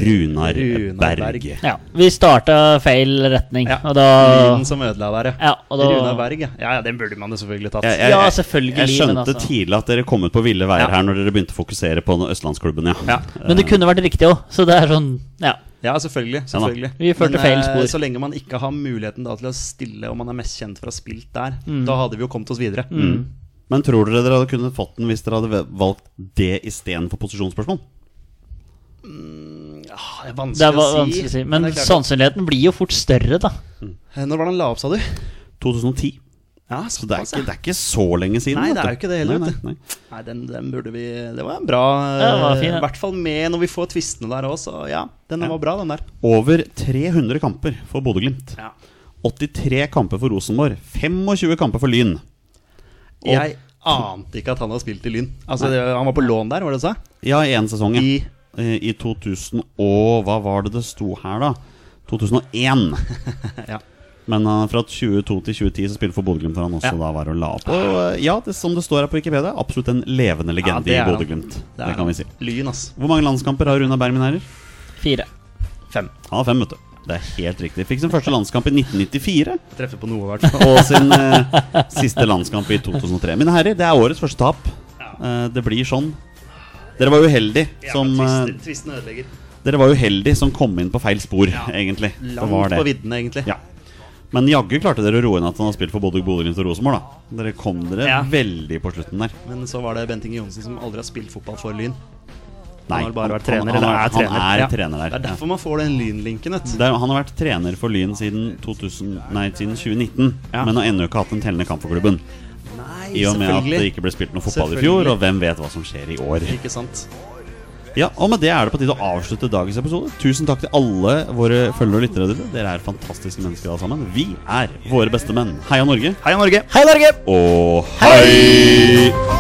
S2: Runar
S1: Runar Berg.
S2: Berg.
S3: Ja, vi starta feil retning,
S1: Ja. Mm,
S3: og da
S1: Lyden som ødela der,
S3: Ja, og da-
S1: Runar Berg, ja. ja. Ja, den burde man jo selvfølgelig tatt.
S2: Jeg,
S1: Ja,
S2: jeg,
S3: Ja,
S2: jeg-
S3: selvfølgelig,
S2: jeg
S3: men
S2: skjønte
S3: altså.
S2: tidlig at dere kom ut på ville veier
S1: Ja.
S2: her når dere begynte å fokusere på den østlandsklubben. Ja.
S3: Men det kunne vært riktig òg, så det er sånn Ja.
S1: selvfølgelig. selvfølgelig.
S3: Vi
S1: Men,
S3: fulgte feil
S1: eh,
S3: spor.
S1: Så lenge man ikke har muligheten da til å stille om man er mest kjent for å ha spilt der,
S3: Mm.
S1: da hadde vi jo kommet oss videre. Mm.
S2: Men tror dere dere hadde kunnet fått den hvis dere hadde valgt det istedenfor posisjonsspørsmål?
S1: Ah, det er
S3: Det
S1: vanskelig,
S3: er va- vanskelig å si. Men sånn.
S1: det er klart at-
S3: sannsynligheten blir jo fort større, da.
S1: Eh, Når var det han la opp, sa du?
S2: 2010.
S1: Ja,
S2: Så det er, ikke, det er ikke så lenge siden.
S1: Nei,
S2: vet
S1: det er
S2: du.
S1: jo ikke det heller,
S2: Nei,
S1: vet
S2: nei, nei.
S1: Nei, den, den burde vi Det var en bra
S3: Ja, den var fin,
S1: eh,
S3: ja.
S1: I hvert fall med når vi får tvistene der òg, så ja. Den var bra, den der.
S2: Over 300 kamper for Bodø-Glimt.
S1: Ja.
S2: 83 kamper for Rosenborg. 25 kamper for Lyn. Og-
S1: Jeg ante ikke at han hadde spilt i Lyn. Altså, det, han var på lån der, var det du sa?
S2: Ja, i én sesong. ja.
S1: I-
S2: Eh, I 2000 og Hva var det det sto her, da? 2001.
S1: Ja.
S2: Men eh, fra 2002 til 2010 så spilte for Bodø-Glimt for han også
S1: Ja.
S2: da var å la opp. Og eh, ja, det, som det står her på Wikipedia, absolutt en levende
S1: Ja,
S2: legende
S1: det
S2: i
S1: er han.
S2: Bodø-Glimt. Det,
S1: er
S2: kan
S1: han.
S2: vi si.
S1: Lyn, ass.
S2: Hvor mange landskamper har Runa Berg, mine herrer?
S3: Fire.
S1: Fem.
S2: Han har fem, vet du. Det er helt riktig. Fikk sin første landskamp i 1994
S1: Treffer på noe, i hvert fall.
S2: og sin eh, siste landskamp i 2003. Mine herrer, det er årets første tap. Eh, det blir sånn. Dere var uheldige som, eh,
S1: Tvisten ødelegger.
S2: dere var uheldige som kom inn på feil spor, egentlig. det var
S1: Langt
S2: det.
S1: på viddene, egentlig.
S2: Ja. Men jaggu klarte dere å roe inn at han har spilt for både Bodø-Glimt og Rosenborg. da. Dere kom dere
S3: Ja.
S2: veldig på slutten der.
S1: Men så var det Bent Inge Johnsen som aldri har spilt fotball for Lyn.
S2: Nei,
S1: han har bare vært
S2: han-
S1: trener.
S2: han
S1: eller
S2: har-
S1: er trener.
S2: han er
S1: Ja.
S2: trener der.
S1: Det er derfor man får den Lyn-linken. vet du.
S2: Det er, han har vært trener for Lyn siden, 2000, nei, siden 2019, men har ennå ikke hatt en tellende kamp for klubben.
S1: Nei,
S2: I og med at det
S1: selvfølgelig.
S2: ikke ble spilt noe fotball i
S1: Selvfølgelig.
S2: fjor, og hvem vet hva som skjer i år.
S1: Ikke sant.
S2: Ja, og med det er det på tide å avslutte dagens episode. Tusen takk til alle våre følgere og lyttere. dere. Dere er fantastiske mennesker alle sammen. Vi er våre beste menn. Heia Norge.
S1: Heia Norge!
S3: Hei, Norge!
S2: Og hei!
S5: Å,